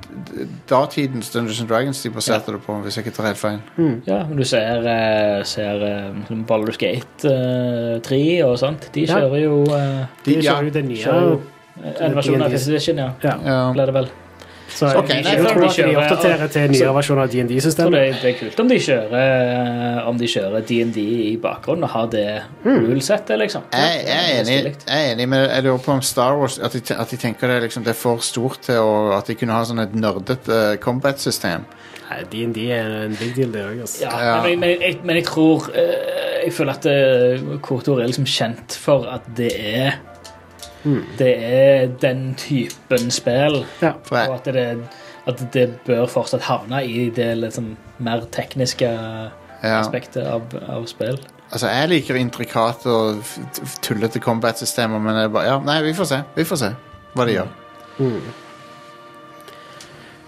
B: datidens Dungeons and Dragons de baserte det på, hvis jeg ikke tar helt feil.
C: Ja, men du ser, eh, ser eh, Baldur's Gate eh, 3 og sånt. De
D: Ja.
C: kjører jo eh,
D: De
B: De, ja,
D: kjører jo det nye.
C: kjører jo en versjon av
D: D&D.
C: Fifth Edition, ja.
D: Ja.
B: ja.
C: Ble det vel.
D: Så jeg,
B: Ok, nei,
D: jeg
C: fair
D: tror
C: enough.
D: at de oppdaterer til nye
C: Så-
D: versjoner av
C: Så
D: D&D-systemet.
C: det, det er kult om de kjører eh, Om de kjører DND i bakgrunnen og har det
B: Hmm.
C: rule-settet, liksom.
B: Jeg, jeg, er enig, jeg er enig med Jeg lurer på om Star Wars At de, at de tenker det, er liksom, det er for stort til å, at de kunne ha sånn et nerdete eh, combat-system.
D: Nei, D&D er en big deal, det òg. Altså.
C: Ja,
B: Ja.
C: Men, men, jeg, men jeg tror eh, Jeg føler at eh, Kotor er liksom kjent for at det er
B: Hmm.
C: Det er den typen spill,
D: Ja.
B: For
C: og
B: jeg,
C: at det, at det bør fortsatt havne i det liksom mer tekniske
B: ja.
C: aspektet av, av spill.
B: Altså, jeg liker intrikate og f- f- tullete combat-systemer, men jeg bare, ja, nei, vi får se. Vi får se hva de gjør.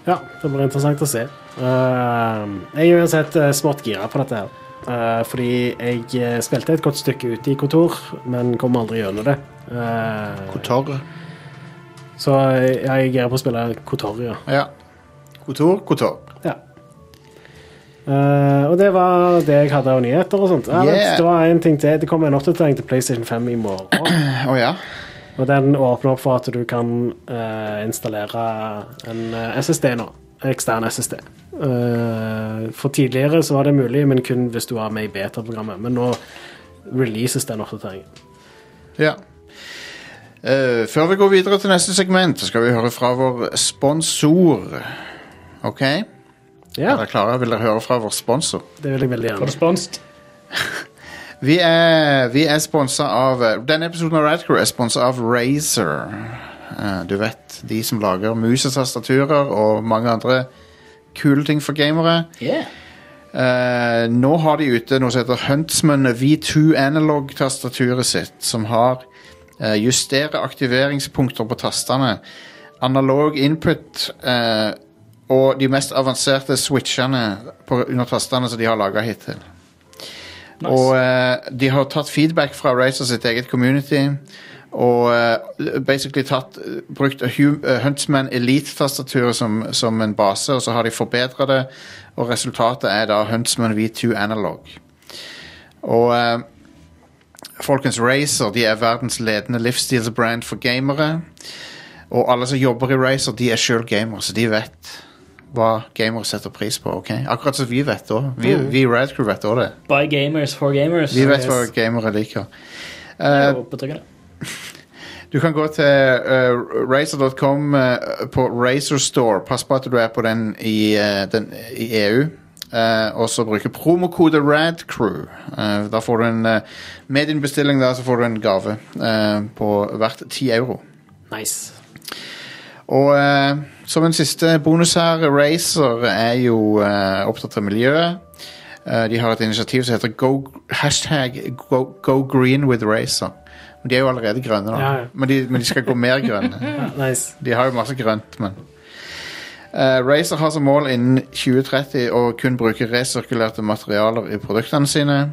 D: Ja, det blir interessant å se. Ehm, jeg er uansett eh, smått gira på dette her. Eh, fordi jeg eh, spilte et godt stykke ute i kontor, men kom aldri gjennom det. Eh,
B: Kotor.
D: så jeg, jeg er gira på å spille Kotor, ja.
B: Ja. Kotor, kotor.
D: ja. Eh, og det var det jeg hadde av nyheter og sånt. Ja, vent,
B: Yeah.
D: Det var en ting til. Det kommer en oppdatering til PlayStation 5 i morgen.
B: Å ja.
D: Og den åpner opp for at du kan eh, installere en eh, SSD nå. Ekstern SSD. Eh, for tidligere så var det mulig, men kun hvis du var med i beta-programmet. Men nå releases den oppdateringen.
B: ja. Eh, før vi går videre til neste segment, så skal vi høre fra vår sponsor. OK?
D: Ja,
B: Er dere klare? Vil dere høre fra vår sponsor?
D: det vil jeg veldig
C: Var
D: gjerne.
C: det sponst?
B: Vi er, vi er sponsa av Denne episoden av Radcrew er sponsa av Razer. Eh, Du vet, de som lager mus og tastaturer og mange andre kule ting for gamere.
C: Yeah.
B: Eh, nå har de ute noe som heter Huntsman V2 Analog-tastaturet sitt, som har eh, justere aktiveringspunkter på tastene, analog input eh, og de mest avanserte switchene på, under tastene som de har laga hittil. Og eh, de har tatt feedback fra Razer sitt eget community. Og eh, basically tatt, eh, brukt Hu- eh, Huntsman Elite-tastaturet som, som en base, og så har de forbedra det. Og resultatet er da Huntsman V2 Analog. Og eh, folkens, Razer de er verdens ledende livsstilsbrand for gamere. Og alle som jobber i Razer, de er sjøl gamere, så de vet hva gamere setter pris på. ok? Akkurat som vi vet òg. Vi, vi i Red Crew vet òg det.
C: By gamers for gamers.
B: eh, Vi vet hva gamere liker. Eh,
C: Det er jo betryggende.
B: du kan gå til uh, racer.com eh, på Racer Store. Pass på at du er på den i, eh, den, i EU. eh, og så bruke promokode RADCREW. Eh, da får du en eh, Med din bestilling da, så får du en gave eh, på hvert 10 euro.
D: Nice.
B: Og eh, som en siste bonus her, Razer er jo eh, opptatt av miljøet. Eh, de har et initiativ som heter go, hashtag go, go green with Razer. Men De er jo allerede grønne, da.
D: Ja, ja.
B: Men, de, men de skal gå mer grønne.
D: Ja, nice.
B: De har jo masse grønt, men Eh, Razer har som mål innen 2030 å kun bruke resirkulerte materialer i produktene sine.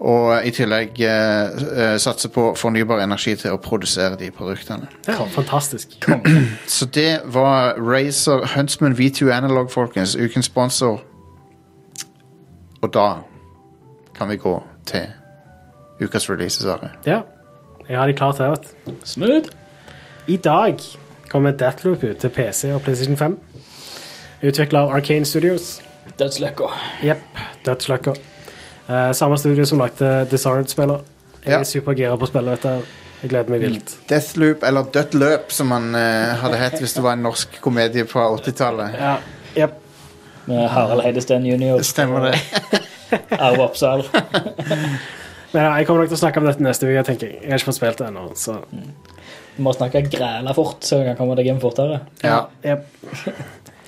B: Og i tillegg eh, eh, satse på fornybar energi til å produsere de produktene.
D: Ja, fantastisk.
B: Så det var Razer Huntsman V2 Analog, folkens. Ukens sponsor. Og da kan vi gå til ukas releases, Are.
D: Ja. Jeg har de klart her, vet du.
C: Smooth.
D: I dag kommer Deathloop ut til PC og PlayStation 5. Utvikla av Arcane Studios.
C: Dødsløkka.
D: Jepp. Dødsløkka. Eh, samme studio som lagde Desired-spiller. Jeg
B: Ja. Mm.
D: er supergira på å spille dette. her. Jeg gleder meg vilt.
B: Deathloop, eller Dødt løp, som han eh, hadde hett hvis det var en norsk komedie fra 80-tallet.
D: Ja. Jepp.
C: Med Harald Heidesteen jr.
B: Stemmer det?
C: Arve Oppsal.
D: Men ja, jeg kommer nok til å snakke om dette neste uke, tenker jeg. Jeg har ikke fått spilt det ennå, så
C: Du må snakke græla fort, så du kan komme deg hjem fortere.
B: Ja.
D: Ja.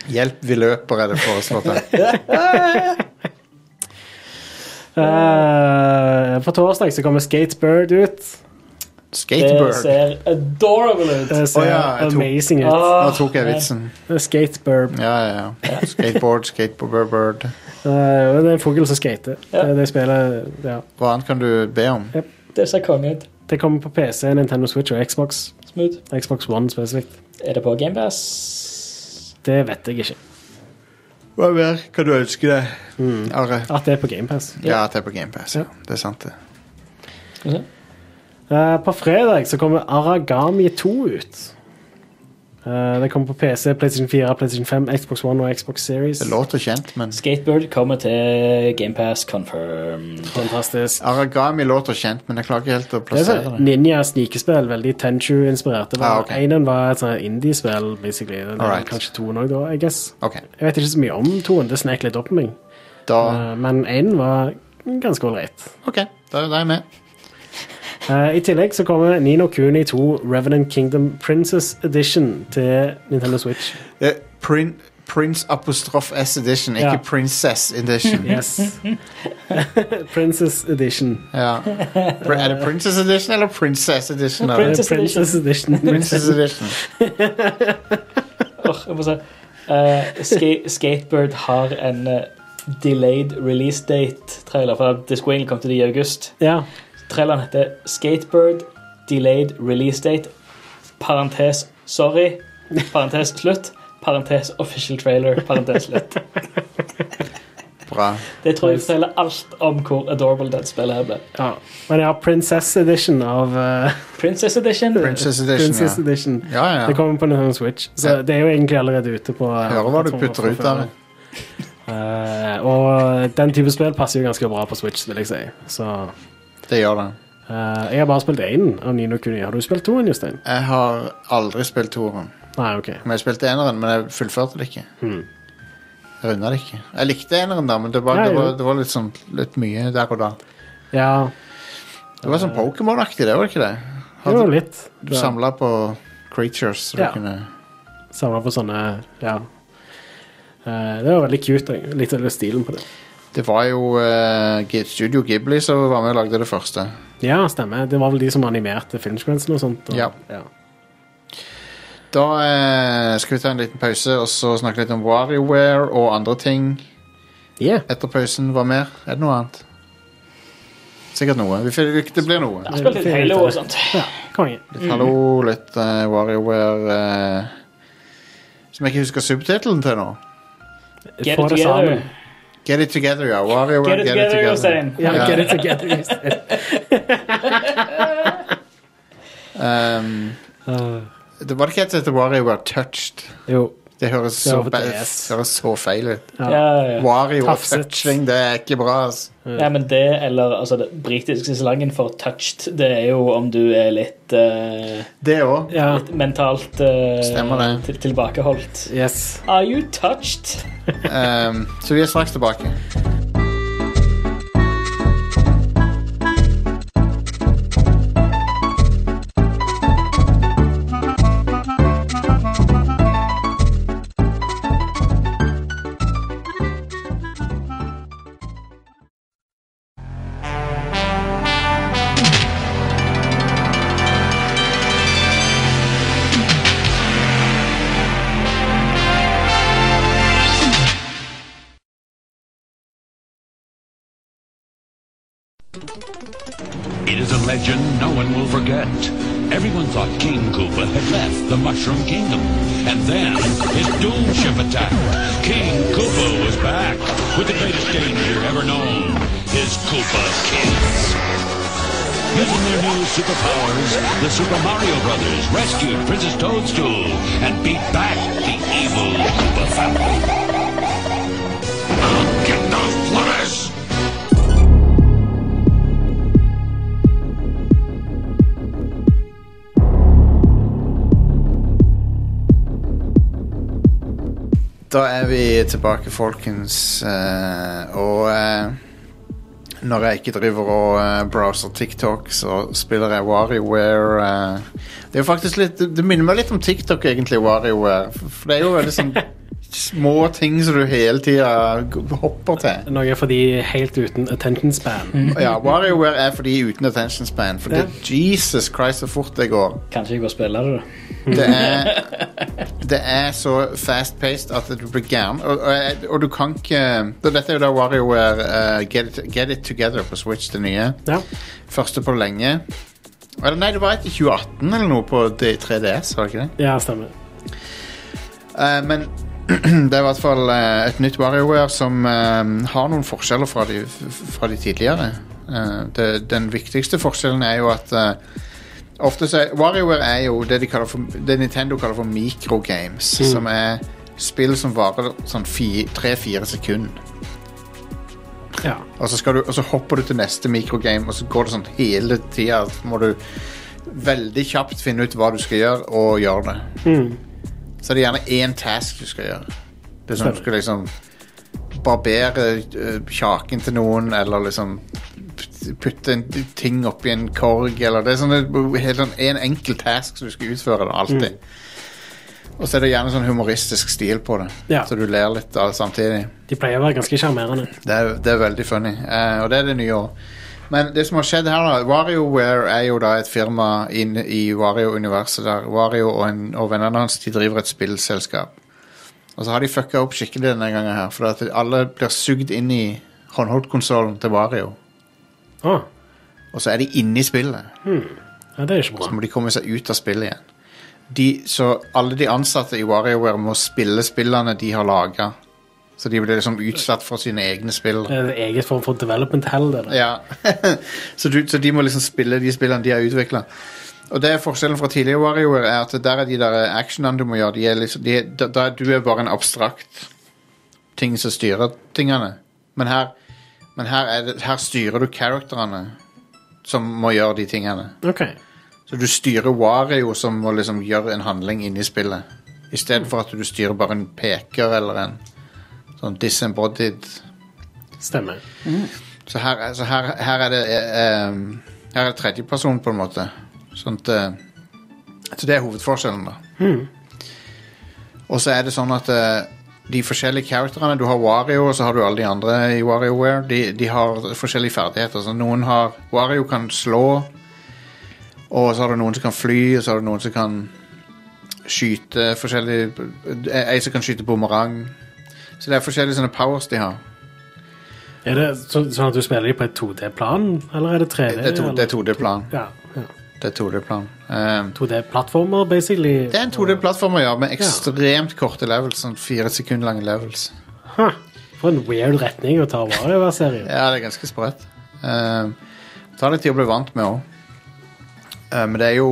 B: Hjelp, vi løper, er det foreslått her.
D: Eh, på torsdag så kommer Skatebird ut.
C: Det
B: Skatebird.
C: ser adorable ut. Ah, eh,
D: Det ser
B: Å ja, jeg tok-
D: amazing ut.
C: Åh,
B: Eh, Nå tok jeg vitsen.
D: Skatebird.
B: Ja, ja, ja. Skateboard, skateboard.
D: Eh, det er en fugl som skater.
C: Ja.
D: Det, det spillet ja.
B: Hva annet kan du be om?
C: Det ser konge ut.
D: Det kommer på PC, Nintendo Switch og Xbox.
C: Smooth.
D: Xbox One spesifikt.
C: Er det på GamePass?
D: Det vet jeg ikke.
B: Hva mer kan du ønske deg? Mm. Are?
D: At det er på GamePass.
B: Ja, at det er på GamePass.
D: Ja.
B: Ja. Det er sant, det.
C: Skal vi se.
D: Eh, på fredag så kommer Aragami 2 ut. Eh, det kommer på PC, PlayStation 4, PlayStation 5, Xbox One og Xbox Series.
B: Det låter kjent, men
C: Skatebird kommer til GamePass confirmed.
D: Fantastisk.
B: Aragami låter kjent, men jeg klarer ikke helt å
D: Det er
B: plassere
D: sånn
B: det.
D: ninja-snikespill, veldig Tenchu-inspirert. Det var-
B: Ah, ok.
D: Einen var et sånn indie-spill, basically. Det er
B: Alright.
D: Kanskje toen òg, da, I guess.
B: Ok, Ah.
D: Jeg vet ikke så mye om toen, det snek litt opp på meg.
B: da,
D: Eh, men einen var ganske ålreit.
B: ok, da er jeg med.
D: Eh, I tillegg så kommer Nino Kuni 2 Revenant Kingdom Princess Edition til Nintendo Switch.
B: Det er Eh, Prin Prince apostrof S edition, ikke
D: Ja.
B: Princess edition.
D: Yes. Princess Edition.
B: Ja. Pr- Er det Princess edition eller Princess edition? Er det?
C: Princess-
D: Princess, Eh, Princess Edition.
B: Princess edition.
C: Åh, jeg må se. Eh, ska Skatebird har en eh, delayed release date-trailer, for Disco Ingle kom til det i august.
D: ja.
C: Traileren heter Skatebird Delayed Release Date Parentes Sorry Parentes slutt Parentes Official Trailer Parentes slutt
B: Bra.
C: Det tror jeg forteller alt om hvor adorable det spillet her ble
D: ja. Men ja, Princess Edition av eh,
C: Princess Edition
B: Princess edition,
D: Princess
B: ja.
D: Edition.
B: Ja,
D: Det
B: ja.
D: kommer på Nintendo Switch, så
B: Ja.
D: det er jo egentlig allerede ute på eh,
B: Hører hva du putter
D: plattformer fra
B: ut av
D: før.
B: det.
D: Eh, og den type spill passer jo ganske bra på Switch, vil jeg si. Så
B: Det gjør det.
D: eh, Jeg har bare spilt én av Nino Kuni. Har du spilt toen, Jostein?
B: Jeg har aldri spilt toeren.
D: Nei, OK.
B: Men jeg spilte eneren, men jeg fullførte det ikke.
D: Hmm.
B: Jeg runda det ikke. Jeg likte eneren, da, men det var,
D: Ja,
B: det
D: jo.
B: var, det var litt, sånn, litt mye der og da.
D: Ja,
B: Det var sånn Pokémon-aktig, det var det ikke det?
D: det var
B: Hadde,
D: jo litt.
B: du samla på creatures, så du
D: Ja.
B: kunne
D: Samla på sånne Ja. Eh, det var veldig cute. jeg Likte litt stilen på det.
B: Det var jo eh, Gi- Studio Ghibli som var med og lagde det første.
D: Ja, stemmer. Det var vel de som animerte filmsekvensen og sånt. Og,
B: Ja. Da eh, skal vi ta en liten pause og så snakke litt om WarioWare og andre ting
D: Yeah.
B: etter pausen. Hva mer? Er det noe annet? Sikkert noe. Vi finner ut det blir noe.
C: Jeg har spilt litt Halo og sånt
D: Konge.
B: Litt Hallo, litt eh, WarioWare eh, Som jeg ikke husker subtittelen til nå.
C: Get
D: Få
C: it
D: det sammen.
C: together
B: Get It Together, ja. WarioWare,
C: Get it together Jostein
D: Ja,
B: Ja.
D: get it together. Jostein.
B: Ehm, det var det ikke et som heter WarioWare Touched.
D: jo.
B: Det høres
D: Det
B: så,
D: var på
B: ba-
D: DS.
B: høres så feil ut.
C: ja, ja, ja.
B: WarioWare
D: Tafset.
B: Touching, det er ikke bra. ass.
C: ja, men det, eller altså, det britiske slangen for touched, det er jo om du er litt, eh,
B: Det òg.
D: Ja.
C: litt mentalt eh,
B: Stemmer det.
C: til, tilbakeholdt.
D: Yes.
C: Are you touched?
B: Ehm, så vi er straks tilbake.
G: It is a legend no one will forget. Everyone thought King Koopa had left the Mushroom Kingdom. And then his doom ship attacked. King Koopa was back with the greatest danger ever known. His Koopa Kids. Using their new superpowers, the Super Mario Brothers rescued Princess Toadstool and beat back the evil Koopa family. Get the flash!
B: Da er vi tilbake, folkens. eh, og eh, når jeg ikke driver og eh, browser TikTok, så spiller jeg WarioWare. eh. det er jo faktisk litt Det minner meg litt om TikTok, egentlig, WarioWare. For for det er jo veldig sånn små ting som du hele tida hopper til.
D: Noe for de helt uten attention span.
C: Mm.
B: Ja, WarioWare er for de uten attention span. For det, Jesus Christ, så fort det går.
C: Kanskje jeg går og spiller det, da.
B: Det er, det er så fast-paced at du blir gæren. Og, og, og du kan ikke så Dette er jo da WarioWare eh, Get, It- Get It Together på Switch, det nye.
D: Ja.
B: Første på lenge. Eller nei, det var et i 2018 eller noe på D- 3DS, var det ikke det?
D: ja, stemmer.
B: Eh, men det er i hvert fall eh, et nytt WarioWare som eh, har noen forskjeller fra de, f- fra de tidligere. Eh, det, den viktigste forskjellen er jo at eh, ofte så er, WarioWare er jo det, de kaller for, det Nintendo kaller for microgames, som er spill som varer sånn tre-fire sekunder.
D: Ja.
B: Og så, skal du, og så hopper du til neste microgame, og så går det sånn hele tida. Så må du veldig kjapt finne ut hva du skal gjøre, og gjøre det. Så det er gjerne én task du skal gjøre. Det er sånn at Du skal liksom barbere eh, kjaken til noen, eller liksom putte en ting oppi en korg, eller Det er sånn helt sånn en enkel task som du skal utføre, da, alltid. Og så er det gjerne sånn humoristisk stil på det,
D: Ja.
B: så du ler litt av det samtidig.
D: De pleier å være ganske sjarmerende.
B: Det er, det er veldig funny, eh, og det er det nye år. Men det som har skjedd her, da WarioWare er jo da et firma inn i Wario-universet der Wario og, en, og vennene hans de driver et spillselskap. Og så har de fucka opp skikkelig denne gangen her, for at alle blir sugd inn i håndholdtkonsollen til Wario.
D: Å,
B: Og så er de inne i spillet.
D: ja, det er ikke
B: Så
D: bra.
B: må de komme seg ut av spillet igjen. De, så alle de ansatte i WarioWare må spille spillene de har laga. Så de blir liksom utsatt for sine egne spill.
D: Det er en egen form for development hell. Det der.
B: Ja. så, du, så de må liksom spille de spillene de har utvikla. Og det er forskjellen fra tidligere WarioWare er at der er de der actionene du må gjøre. De er liksom, de er, da, da, du er bare en abstrakt ting som styrer tingene. Men her, men her, er det, her styrer du characterene som må gjøre de tingene.
D: Ok.
B: Så du styrer Wario som må liksom gjøre en handling inni spillet. I stedet for at du styrer bare en peker eller en sånn disembodied
D: Stemmer.
B: så her, er- så her, her er det eh, em, Her er det tredjeperson, på en måte. Sånn at eh, Så det er hovedforskjellen, da. Og så er det sånn at eh, de forskjellige characterene Du har Wario, og så har du alle de andre i WarioWare. De, de har forskjellige ferdigheter. Så noen har Wario kan slå, og så har du noen som kan fly, og så har du noen som kan skyte forskjellige Ei som kan skyte bumerang. Så det er forskjellige sånne powers de har.
D: Er det så, sånn at du spiller dem på et 2D-plan, eller er det 3D?
B: Det er to- det er 2D-plan.
D: Ja, ja.
B: Det er 2D-plan. Ehm,
D: 2D-plattformer, basically.
B: det er en 2D-plattform å gjøre med ekstremt korte levels. Sånn fire sekunder lange levels.
D: Huh. For en weird retning å ta vare over serien.
B: Ja, det er ganske sprøtt. Ehm, det tar litt tid å bli vant med òg. men det er jo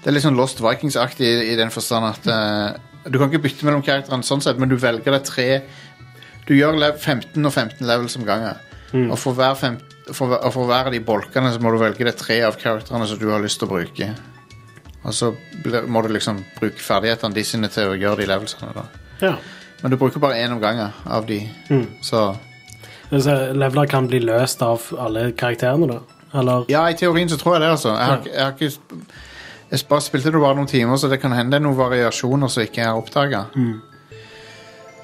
B: Det er litt sånn Lost Vikings-aktig i, i den forstand at eh, Du kan ikke bytte mellom karakterene sånn sett, men du velger deg tre Du gjør lev 15 og 15 levels om gangen. Og for hver, fem, for, hver- og for hver av de bolkene så må du velge deg tre av karakterene som du har lyst til å bruke. Og så blir- må du liksom bruke ferdighetene de sine til å gjøre de levelsene. da
D: Ja.
B: Men du bruker bare én om gangen av de. Så
D: Så leveler kan bli løst av alle karakterene, da? Eller
B: Ja, i teorien så tror jeg det, altså. Jeg har, jeg har ikke jeg bare spilte det bare noen timer, så det kan hende det er noen variasjoner som ikke er oppdaga.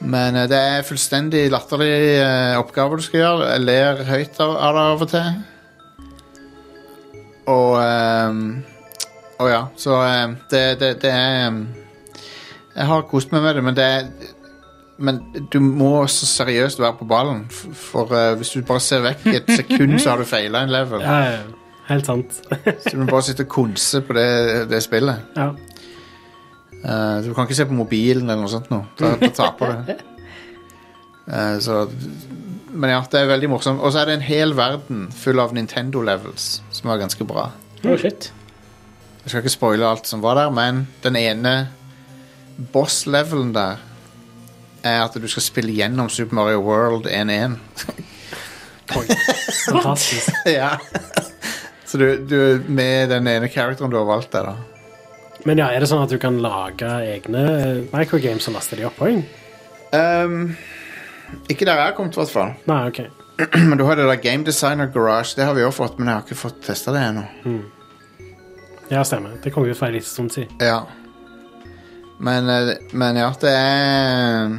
B: Men eh, det er fullstendig latterlig eh, oppgave du skal gjøre. Jeg ler høyt av, av det av og til. Og ehm, Å ja, så ehm, det, det, det er ehm, Jeg har kost meg med det, men det er men du må så seriøst være på ballen, f- for eh, hvis du bare ser vekk i et sekund, så har du feila en level.
D: Ja, ja, ja. Helt sant.
B: Så du må bare sitte og konse på det, det spillet.
D: ja.
B: Eh, så du kan ikke se på mobilen eller noe sånt nå. Da, da taper du. Eh, så Men ja, det er veldig morsomt. Og så er det en hel verden full av Nintendo levels, som er ganske bra.
C: Oh, shit.
B: Jeg skal ikke spoile alt som var der, men den ene boss-levelen der er at du skal spille gjennom Super Mario World 1-1.
D: Fantastisk.
B: ja. Så du, du er med den ene characteren du har valgt der, da.
D: Men ja, er det sånn at du kan lage egne eh, microgames og laste de opp òg?
B: Ehm, ikke der jeg har kommet, i hvert fall.
D: Nei, ok.
B: Men du har det der Game Designer Garage. Det har vi også fått, men jeg har ikke fått testa det ennå.
D: Ja, stemmer. Det kom ut for en liten stund siden.
B: Ja. Men, eh, men ja, det er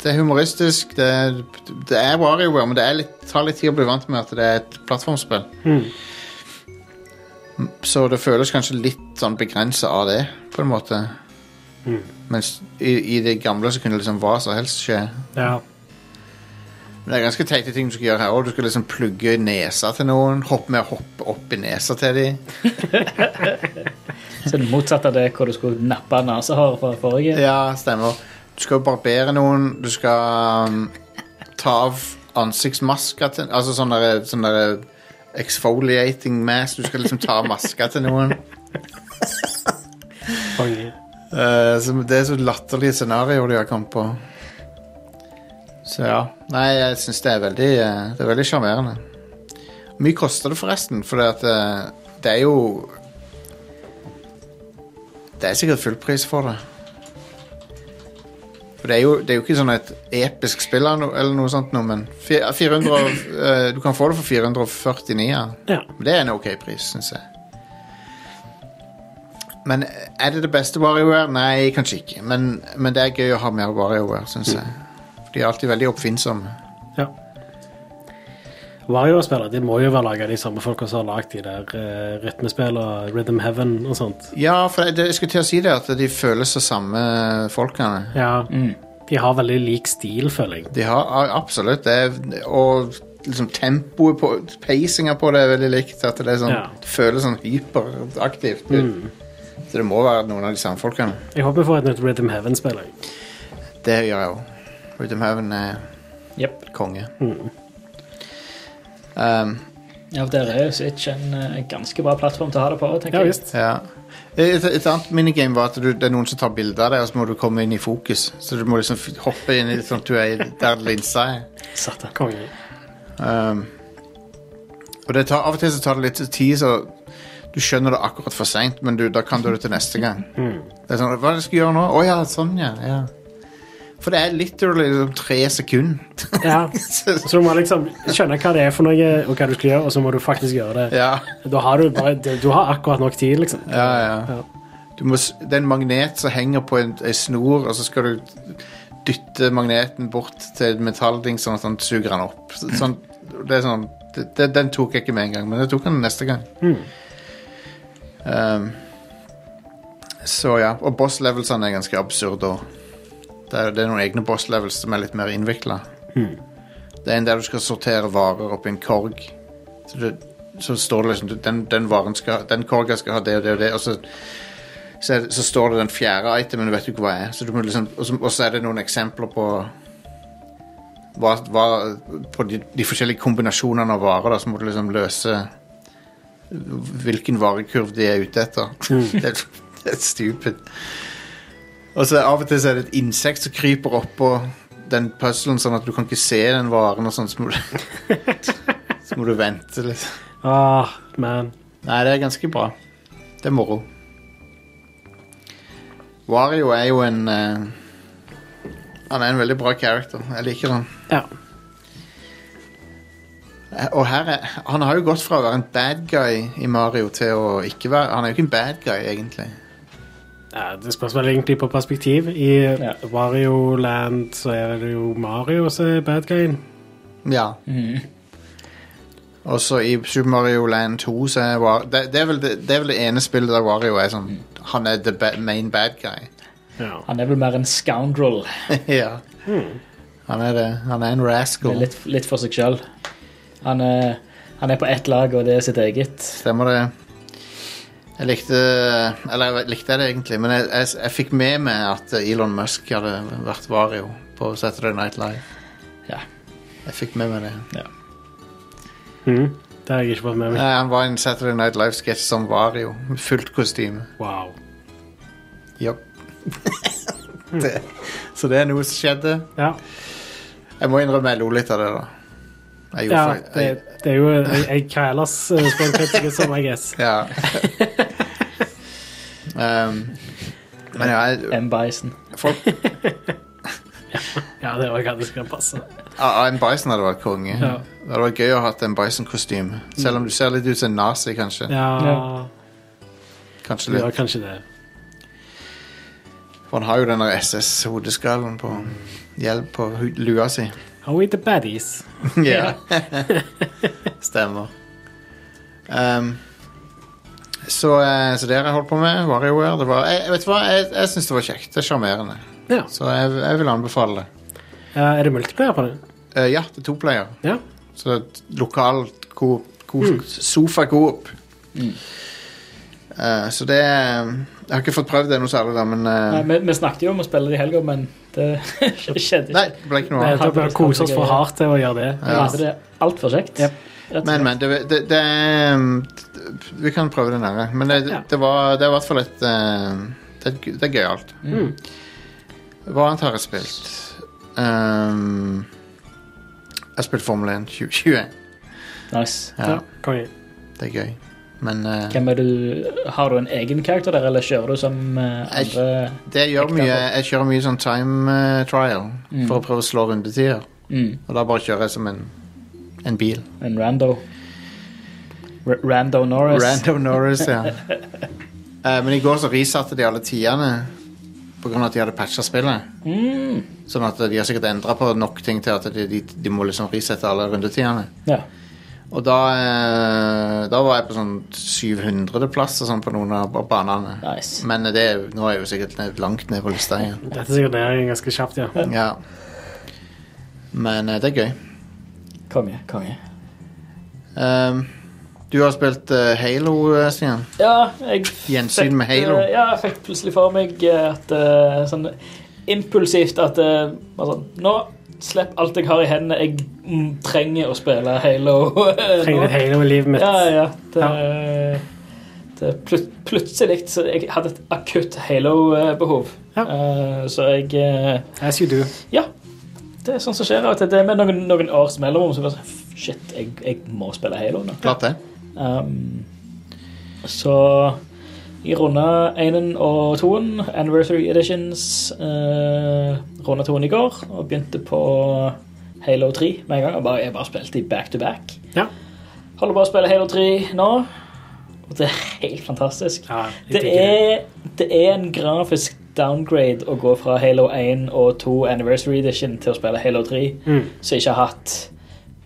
B: Det er humoristisk. Det, er- det er WarioWare, men det er litt, tar litt tid å bli vant med at det er et plattformspill. Så det føles kanskje litt sånn begrensa av det, på en måte. Mens i, i det gamle så kunne liksom hva som helst skje.
D: Ja.
B: Men det er ganske teite ting du skal gjøre her òg. Du skal liksom plugge nesa til noen. Hoppe med å hoppe opp i nesa til dem.
C: Så det motsatte av det hvor du skulle nappe nesehår fra forrige.
B: Ja, stemmer. Du skal barbere noen. Du skal um, ta av ansiktsmasker til Altså sånn derre sånn der exfoliating mask. Du skal liksom ta av masker til noen.
D: Konge.
B: Eh, så det er så latterlige scenarioer de har kommet på. Så ja. Nei, jeg syns det er veldig eh, Det er veldig sjarmerende. Hvor mye koster det forresten? For det, at, eh, det er jo Det er sikkert fullpris for det. For det er jo, det er jo ikke sånn et episk spill eller noe, eller noe sånt, noe, men fi- 400, og- eh, Du kan få det for 449. Ja.
D: Ja.
B: Men det er en ok pris, syns jeg. Men eh, er det det beste WarioWare? Nei, kanskje ikke. Men, men det er gøy å ha mer WarioWare, syns jeg. For de er alltid veldig oppfinnsomme.
D: ja. Wario-spillere de må jo være laget av de samme folka som har lagd de der uh, rytmespillene, Rhythm Heaven og sånt.
B: Ja, for jeg, jeg skulle til å si det, at de føles som samme folkene.
D: Ja. De har veldig lik stil, føler jeg.
B: De har a- absolutt det. er- Og liksom tempoet på Pacinga på det er veldig likt. At det, er sånn,
D: Ja.
B: det føles sånn hyperaktivt ut. Så det må være noen av de samme folkene.
D: Jeg håper vi får et nytt Rhythm Heaven-spill. jeg.
B: Det gjør jeg òg. Rhythm Heaven er
C: Jep.
B: konge. Um,
C: Ja, for der er jo Switch en eh, ganske bra plattform til å ha det på, tenker
D: Ja
C: jeg.
D: visst.
B: Ja. Et, et annet minigame var at du, det er noen som tar bilder av deg, og så må du komme inn i fokus. Så du må liksom f- hoppe inn i sånn at du er i- der linsa er.
C: Satan.
D: Konge.
B: Um, og det tar, av og til så tar det litt tid, så du skjønner det akkurat for seint, men du, da kan du det til neste gang. Det er sånn, Hva er det jeg skal gjøre nå? Å ja, sånn, ja. ja. For det er literally liksom tre sekunder.
D: Ja. Så du må liksom skjønne hva det er for noe, og hva du skal gjøre, og så må du faktisk gjøre det.
B: ja.
D: Da har du bare Du du har akkurat nok tid, liksom.
B: Ja, ja. Du må, s- det er en magnet som henger på en, en snor, og så skal du dytte magneten bort til en metallding, sånn at han suger den opp. Så- Sånn, det er sånn, det, det, den tok jeg ikke med en gang, men jeg tok den neste gang. Um, så ja, og boss-levelsene er ganske absurde òg. Det, er- det er noen egne boss-levels som er litt mer innvikla. Det er en der du skal sortere varer oppi en korg. Så, det, så står det liksom den, den, varen skal, den korga skal ha det og det og det, og så, så, er det- så står det den fjerde itemen, du vet jo ikke hva er. Så du må liksom, og, så, og så er det noen eksempler på hva, hva, på de, de forskjellige kombinasjonene av varer. Da, så må du liksom løse hvilken varekurv de er ute etter. det, er, det er stupid. Og så av og til så er det et insekt som kryper oppå den puzzlen, sånn at du kan ikke se den varen, og sånn, så må du, så må du vente litt.
D: Ah, man.
B: Nei, det er ganske bra. Det er moro. Wario er jo en eh, Han er en veldig bra character. Jeg liker han.
D: Ja.
B: Eh, Og her er, han har jo gått fra å være en bad guy i Mario til å ikke være Han er jo ikke en bad guy, egentlig.
D: Ja, Det spørs vel egentlig på perspektiv. I
C: Ja.
D: Wario Land så er det jo Mario som er bad guyen.
B: Ja. Og så i Super Mario Land 2 så er Wario det, det, er vel det, det er vel det ene spillet der Wario er sånn Han er the ba main bad guy.
D: Ja.
C: Han er vel mer en scoundrel.
B: ja. Han er det. Han er en rascal.
C: Litt, litt for seg sjøl. Han, er- han er på ett lag, og det er sitt eget.
B: Stemmer det. Jeg likte Eller jeg likte det egentlig, men jeg, jeg, jeg fikk med meg at Elon Musk hadde vært Vario på Saturday Night Live.
C: Ja.
B: Jeg fikk med meg det.
D: Mhm. Det har jeg ikke fått med meg.
B: Nei, han var i en Saturday Night Live-sketsj som Vario. med Fullt kostyme.
D: Wow.
B: Yep. det. Så det er noe som skjedde.
D: Ja,
B: Jeg må innrømme jeg lo litt av det, da. Jeg gjorde
D: ja
B: fakt-
D: det,
B: jeg-
D: det er jo jeg, jeg, Hva ellers eh, spør du ikke som, I guess.
B: Ja. um, men ja, jeg,
C: M. Bison.
B: folk,
D: Ja, Ja, det var ikke at det skulle passe.
B: Ah, ah, en bison hadde vært konge.
D: Ja.
B: Det hadde vært gøy å ha hatt en bison-kostyme. Selv om du ser litt ut som en nazi, kanskje.
D: Ja,
E: Ja.
B: Kanskje
D: du gjør
B: litt.
D: kanskje det.
B: For han har jo den der SS-hodeskallen på hjelp på hu- lua si.
D: Are we the baddies?
B: ja. Stemmer. Ehm, så, eh, så dere holdt på med WarioWare. Det var, jeg, vet du hva, jeg, jeg syns det var kjekt. Det er sjarmerende.
D: Ja.
B: Så jeg, jeg vil anbefale det.
D: Eh, er det multiplayer på det?
B: Eh, ja, det er to player.
D: Ja. Mm.
B: Så et lokalt coop, coop, sofa-coop. Eh, så det er- Jeg har ikke fått prøvd det noe særlig, da, men eh,
C: Nei, vi, vi snakket jo om å spille det i helga, men det skjedde ikke.
B: Nei, det ble ikke noe
D: Nei,
B: av.
D: da bør vi kose oss for hardt til å gjøre det.
C: Vi hadde det altfor kjekt.
D: Yep.
C: Rett og
B: Men,
C: slett.
B: men, det, det, det er um, Vi kan prøve det en annen gang. Men det,
D: Ja.
B: det, var, det er i hvert fall et uh, Det, er gu- det er gøyalt.
D: Mm.
B: Hva annet har jeg spilt? Um, jeg har spilt Formel 1 2020.
C: Nice.
B: Ja,
D: Konge.
B: det er gøy. Men uh,
C: Hvem er du, har du en egen karakter der, eller kjører du som eh,
B: Jeg-
C: andre
B: det gjør
C: Ekte
B: mye
C: folk.
B: Jeg kjører mye sånn time uh, trial
C: Mm.
B: for å prøve å slå rundetider.
C: mm,
B: Og da bare kjører jeg som en, en bil.
C: en rando? R rando Norris?
B: Random Norris, ja. Eh, men i går så resatte de alle tidene pga. at de hadde patcha spillet.
C: Mm.
B: Sånn at de har sikkert endra på nok ting til at de, de, de må liksom resette alle rundetidene.
C: Ja.
B: Og da, eh, da var jeg på sånn 700.-plass og sånn på noen av banene.
C: Nice.
B: Men det, er jo- nå er jeg jo sikkert ned, langt ned på lista igjen.
D: Dette er sikkert ned ganske kjapt, ja.
B: Ja. Men eh, det er gøy. Mm.
C: Konge. Konge.
B: Ehm, du har spilt eh, Halo, eh, Stian.
C: Ja, jeg f-
B: Gjensyn med
C: fikk,
B: Halo.
C: eh, Ja, jeg fikk plutselig for meg eh, at eh, sånn impulsivt at eh, altså, Nå slipp alt jeg har i hendene. Jeg mm, trenger å spille Halo. eh,
D: Trenger
C: nå.
D: litt halo i livet mitt.
C: Ja, ja. Det, det plut, plutselig så jeg hadde et akutt Halo-behov.
D: Ja.
C: Eh, så jeg eh,
D: As you do.
C: Ja. Det er sånn som skjer. At det er med noen, noen års mellomrom så bare sånn, "F- Shit, jeg, jeg må spille Halo nå.
B: Klart det.
C: Um, så jeg runda enen og toen, Anniversary Editions, uh, runda toen i går og begynte på Halo 3 med en gang. Jeg bare, jeg bare spilte i back to back.
D: Ja.
C: Holder på å spille Halo 3 nå, og det er helt fantastisk.
D: ja jeg
C: Det
D: digger
C: er, det er en grafisk downgrade å gå fra Halo 1 og 2 Anniversary Edition til å spille Halo 3,
D: Mm.
C: som ikke har hatt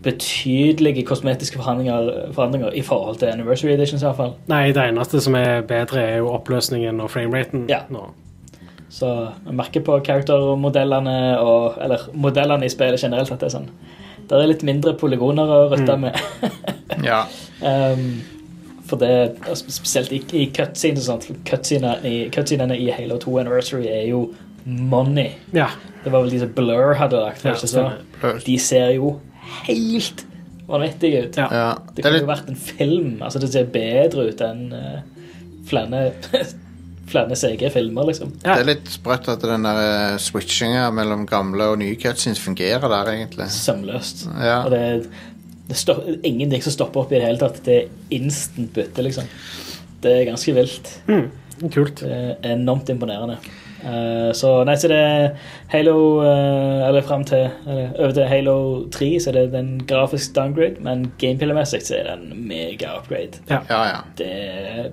C: betydelige kosmetiske forandringer, forandringer i forhold til Anniversary Edition i hvert fall.
D: Nei, det eneste som er bedre, er jo oppløsningen og frameraten
C: Ja.
D: nå.
C: Så jeg merker på karaktermodellene og Eller modellene i spillet generelt at det er sånn. Det er litt mindre polygoner å
D: Mm.
C: rutte med.
B: Ja.
C: Ehm, for det altså, Spesielt i, i cutscenes og sånt. Cutscenene i, cutscenene i Halo 2 Anniversary er jo money.
D: Ja.
C: Det var vel de som Blur hadde lagt. var det ikke så? De ser jo helt vanvittige ut.
D: Ja.
B: ja.
C: Det
B: Det er
C: kunne jo
B: litt
C: vært en film. Altså, det ser bedre ut enn eh, flere, flere CG-filmer, liksom.
D: Ja.
B: Det er litt sprøtt at den der eh, switchinga mellom gamle og nye cutscenes fungerer der, egentlig.
C: Sømløst.
B: Ja.
C: Og det, det stop, ingenting som stopper opp i det hele tatt. Det er instant bytte, liksom. Det er ganske vilt.
D: Mm. Kult.
C: Det er Eh, enormt imponerende. Eh, så nei, så det er Halo eh, Eller fram til eller, Over til Halo 3 så er det den grafisk downgrade, men gameplay-messig så er det en mega upgrade.
B: Ja, ja.
C: Det er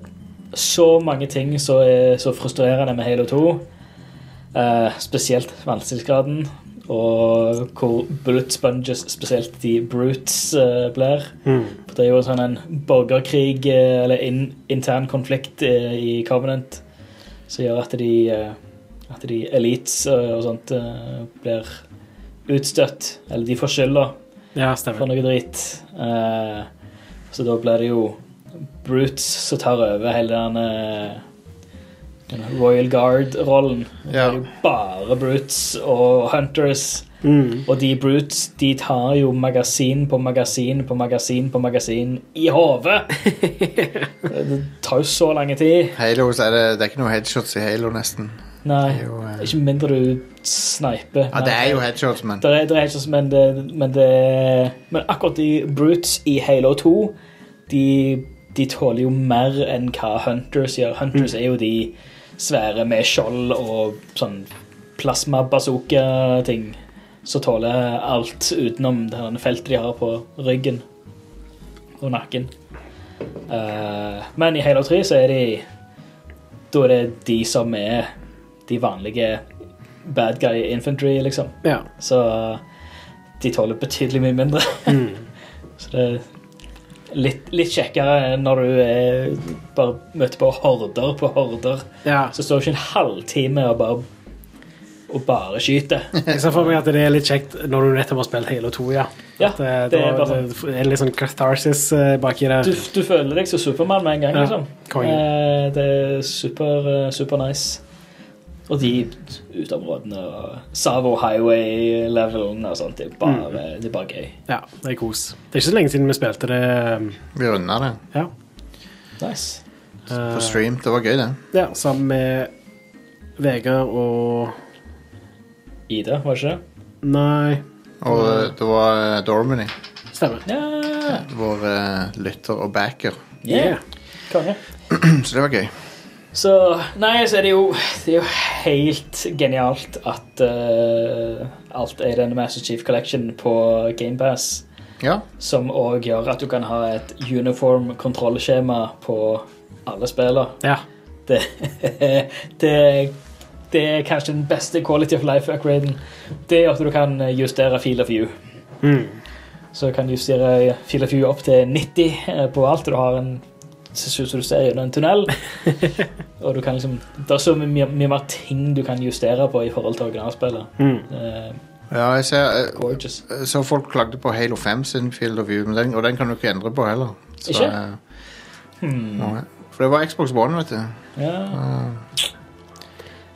C: så mange ting som er så frustrerende med Halo 2. Eh, spesielt vanskelighetsgraden og hvor bullet sponges, spesielt de brutes, eh, blir.
D: Mm.
C: For Det er jo sånn en borgerkrig, eh, eller in, intern konflikt eh, i Covenant, som gjør at de, eh, at de elites eh, og sånt eh, blir utstøtt, eller de får skylda
D: Ja,
C: for
D: stemmer.
C: noe drit. Eh, så da blir det jo Brutes som tar over hele den, eh, den Royal Guard-rollen. Det
B: Ja.
C: er jo bare Brutes og Hunters.
D: Mm.
C: Og de Brutes de tar jo magasin på magasin på magasin på magasin i hodet! det tar jo så lang tid.
B: Halo, så er det, det er ikke noe headshots i Halo, nesten.
C: Nei,
B: Det er jo, eh,
C: ikke mindre du sniper.
B: Ja, det er jo headshots, men
C: Det er, det er ikke sånn, men, det, men, det, men akkurat de Brutes i Halo 2, de, de tåler jo mer enn hva Hunters gjør. Hunters er jo de svære med skjold og sånn plasmabazooka-ting. som tåler alt utenom det her feltet de har på ryggen og nakken. Eh, men i Halo 3 så er de Da er det de som er de vanlige bad guy infantry, liksom.
D: Ja.
C: Så de tåler betydelig mye mindre. Så det er litt, litt kjekkere enn når du er, bare møter på horder på horder.
D: ja.
C: Så står du ikke en halvtime og bare, og bare skyter.
D: Jeg ser for meg at det er litt kjekt når du nettopp har spilt Halo 2, ja.
C: Ja,
D: At, eh,
C: det er
D: da-
C: bare sånn.
D: det er litt sånn catharsis eh, baki det.
C: Du, du føler deg som Supermann med en gang.
D: Ja,
C: liksom.
D: konge.
C: Eh, det er super, eh, super nice. Og de uteområdene og Savo Highway-levelen og sånt, det er bare, det er bare gøy.
D: Ja, det er kos. Det er ikke så lenge siden vi spilte det. eh,
B: Vi runda det
D: Ja.
C: Nice.
D: eh,
B: på stream. Det var gøy, det.
D: ja, sammen med Vegard og
C: Ida, var det ikke det?
D: Nei,
B: Og eh, det var eh, Dormany,
D: stemmer.
C: Ja.
B: vår eh, lytter og backer.
C: Yeah. Konge.
B: Så det var gøy.
C: Så Nei, så er det jo Det er jo helt genialt at eh, alt er denne Master Chief Collection på GamePass.
B: Ja.
C: Som òg gjør at du kan ha et uniform kontrollskjema på alle spillene.
D: Ja.
C: Det, Eh, det, det er kanskje den beste quality of life-upgraden. Det er at du kan eh, justere field of view. Så du kan justere field of view opp til 90 på alt. Du har en ser ut som du ser gjennom en tunnel. Og du kan liksom, det er så mye, mye mer ting du kan justere på i forhold til originalspillet. Eh,
B: ja jeg ser, eh,
C: gorgeous.
B: så folk klagde på Halo 5 sin Field of View, men den, og den kan du ikke endre på heller. Så,
C: Ikke?
B: eh,
C: Hmm.
B: nei. For det var Xbox One, vet du.
C: Ja.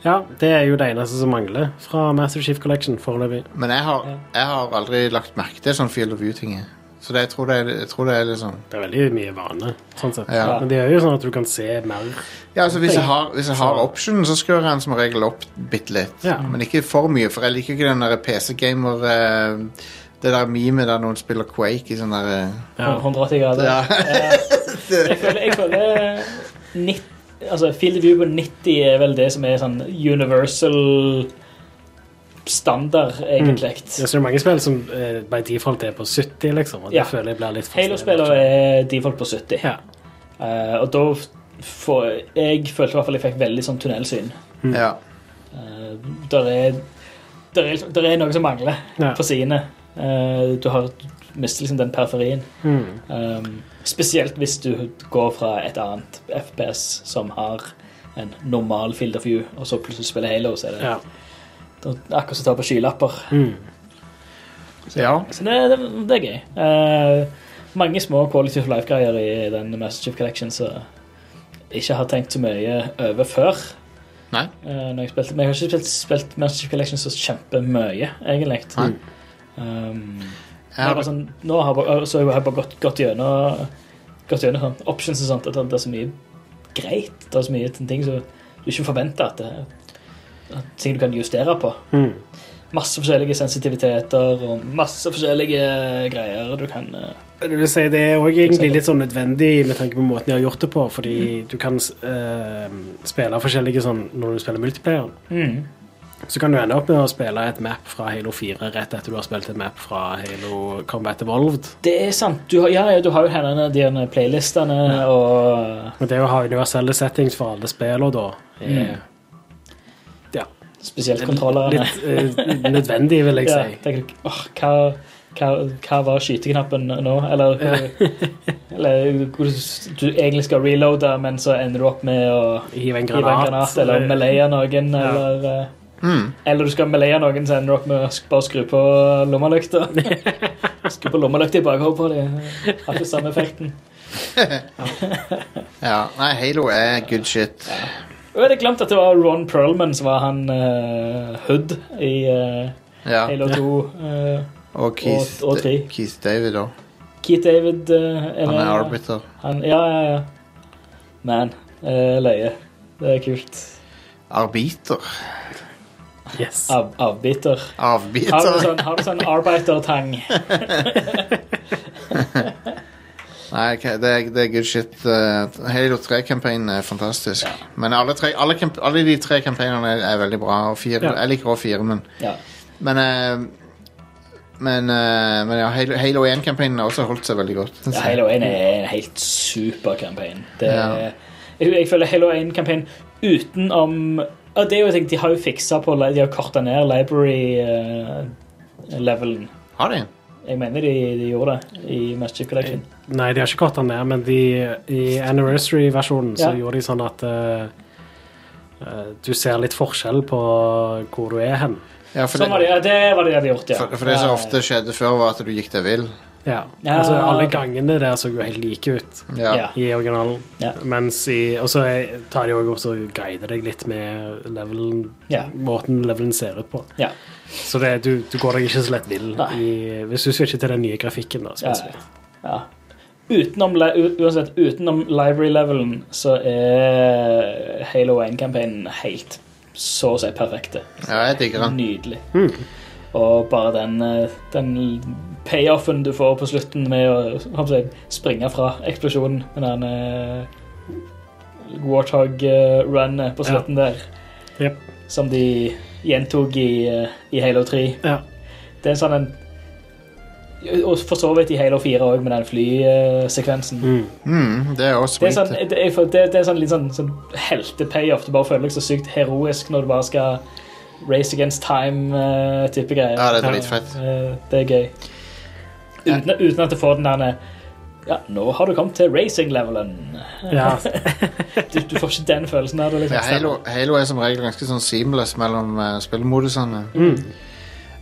D: ja, det er jo det eneste som mangler fra Master Chief Collection foreløpig.
B: Men jeg har, jeg har aldri lagt merke til sånn Field of View-tinget. Så det, jeg, tror det er, jeg tror det er liksom
D: Det er veldig mye vane, sånn sett.
B: Ja.
D: Men det er jo sånn at du kan se mer.
B: Ja, altså Hvis jeg har, hvis jeg har option, så skrur jeg den som regel opp bitte litt.
D: Ja.
B: Men ikke for mye, for jeg liker ikke den der PC-gamer eh, Det der memet der noen spiller Quake i sånn der eh,
C: 180 grader. Eh,
B: Ja.
C: jeg føler, jeg føler nitt- altså, Field of view på 90 er vel det som er sånn universal standard, egentlig.
D: Det er mange spill som eh, by default er på 70, liksom. Og det
C: Ja.
D: føler jeg blir litt
C: Halo-spillere er default på 70,
D: Ja.
C: Eh, og da f- får Jeg følte i hvert fall jeg fikk veldig sånn tunnelsyn.
B: Ja.
C: Eh, der, er, der, er, liksom- der er noe som mangler
D: Ja.
C: på sidene. Eh, du har du mister liksom den periferien.
D: Mm.
C: Um, spesielt hvis du går fra et annet FPS som har en normal field of view, og så plutselig spiller Halo, så er det
D: Ja.
C: det er akkurat som å ta på skylapper.
B: Så ja.
C: Så det, det, det er gøy. Eh, mange små quality of life-greier i den Master Chief Collection som jeg ikke har tenkt så mye over før.
B: Nei.
C: eh, når jeg spilte. Men jeg har ikke spilt, spilt Master Chief Collection så kjempemye, egentlig.
B: Nei.
C: Um,
B: Jeg
C: det
B: har,
C: er bare sånn, nå har jeg bare, så har jeg bare gått, gått gjennom, gått gjennom sånn, options og sånt. At det er så mye greit. Det er så mye ting som du ikke forventer at det at ting du kan justere på. Masse forskjellige sensitiviteter og masse forskjellige greier du kan eh,
D: Det vil si, det er òg egentlig litt sånn nødvendig med tanke på måten de har gjort det på, fordi du kan eh, spille forskjellige sånn når du spiller multiplayer.
B: Mm.
D: Så kan du ende opp med å spille et map fra Halo 4 rett etter du har spilt et map fra Halo Combat Evolved.
C: Det er sant. Du har, ja, ja, du har jo her denne- de denne playlistene og
D: Men det å ha universelle settings for alle spillene da
C: Mm.
D: er ja,
C: spesielt kontrollerne.
D: litt eh, nødvendig, vil jeg
C: Ja,
D: si.
C: tenker, du, åh, hva, hva, hva var skyteknappen nå? Eller, eller hvor du egentlig skal reloade, men så ender du opp med å
D: Hive en
C: hive en granat eller meleie noen. Eller, eh,
B: mm,
C: eller du skal meleie noen, så ender du opp med å sk- bare skru på lommelykta. skru på lommelykta i bakhodet på dem. Har ikke samme effekten. sånn.
B: ja. Nei, Halo er good shit.
C: Og jeg hadde glemt at det var Ron Perlman som var han eh, Hood i eh,
B: Ja.
C: Halo 2. eh,
B: Og Keith,
C: og tre.
B: Keith David òg.
C: Keith David eh, er
B: Han er
C: med.
B: arbiter.
C: Han, ja, ja, ja. Man. Eh, løye. Det er kult.
B: Arbiter?
D: Yes.
C: Av, avbiter. Har du
B: Avbiter?
C: sånn, har du sånn arbeidertang?
B: Nei, ok, det er, det er good shit. Eh, Halo 3-kampanjen er fantastisk. Men alle, tre, alle, kamp- alle de tre kampanjene er, er veldig bra. Og fire,
D: Ja.
B: Jeg liker også fire, men
C: Ja.
B: Men eh, Men, eh, men ja, Halo- Halo 1-kampanjen har også holdt seg veldig godt.
C: Ja, Halo 1 er en helt super kampanje. Det er,
B: Ja.
C: jeg, jeg føler Halo 1-kampanjen utenom ja, det er jo, jeg tenker, De har jo fiksa på De har korta ned library-levelen.
B: Har de?
C: jeg mener de, de gjorde det i Master Chief Collection.
D: Nei, de har ikke kortet den ned, men de, i anniversary-versjonen så
C: Ja.
D: gjorde de sånn at eh, eh, du ser litt forskjell på hvor du er hen.
B: Ja, for
C: Sånn var det,
B: det,
C: ja, det var det de hadde gjort, ja.
B: for, for det som
C: Ja,
B: ofte skjedde før, var at du gikk deg vill.
D: Ja.
C: Ja,
D: altså, alle
C: ok.
D: gangene der så jo helt like ut
B: Ja.
C: Ja.
D: i originalen.
C: Ja.
D: Mens i, og så er- tar de også opp og guider deg litt med levelen,
C: Ja.
D: måten levelen ser ut på.
C: ja.
D: Så det, du, du går deg ikke så lett vill
C: Nei.
D: i, hvis du switcher til den nye grafikken. da,
C: ja,
D: spesifikt.
C: ja. Utenom, li- u- uansett, utenom library-levelen så er Halo 1-kampanjen helt så å si perfekte.
B: ja, jeg digger den.
C: Nydelig. Og bare den, eh, den payoffen du får på slutten med å hva skal jeg si, springe fra eksplosjonen med den eh, Warthog-runnet på
D: Ja.
C: slutten der,
D: Jep.
C: som de gjentok i, eh, i Halo 3.
D: Ja.
C: Det er en sånn en Og for så vidt i Halo 4 òg, med den flysekvensen.
D: Mm.
B: Mm, det er også
C: Det er,
B: sweet.
C: sånn, det, er, det, det er sånn litt sånn, sånn helte-payoff. Du bare føler deg så sykt heroisk når du bare skal race against time-type greier.
B: Ja, det er dritfett.
C: Eh, det er gøy. Uten, uten at du får den der Ja, nå har du kommet til racing-levelen.
D: ja.
C: Du, du får ikke den følelsen av det.
B: Ja,
C: Liksom.
B: Halo, Halo er som regel ganske sånn seamless mellom eh, spillmodusene.
D: Mm.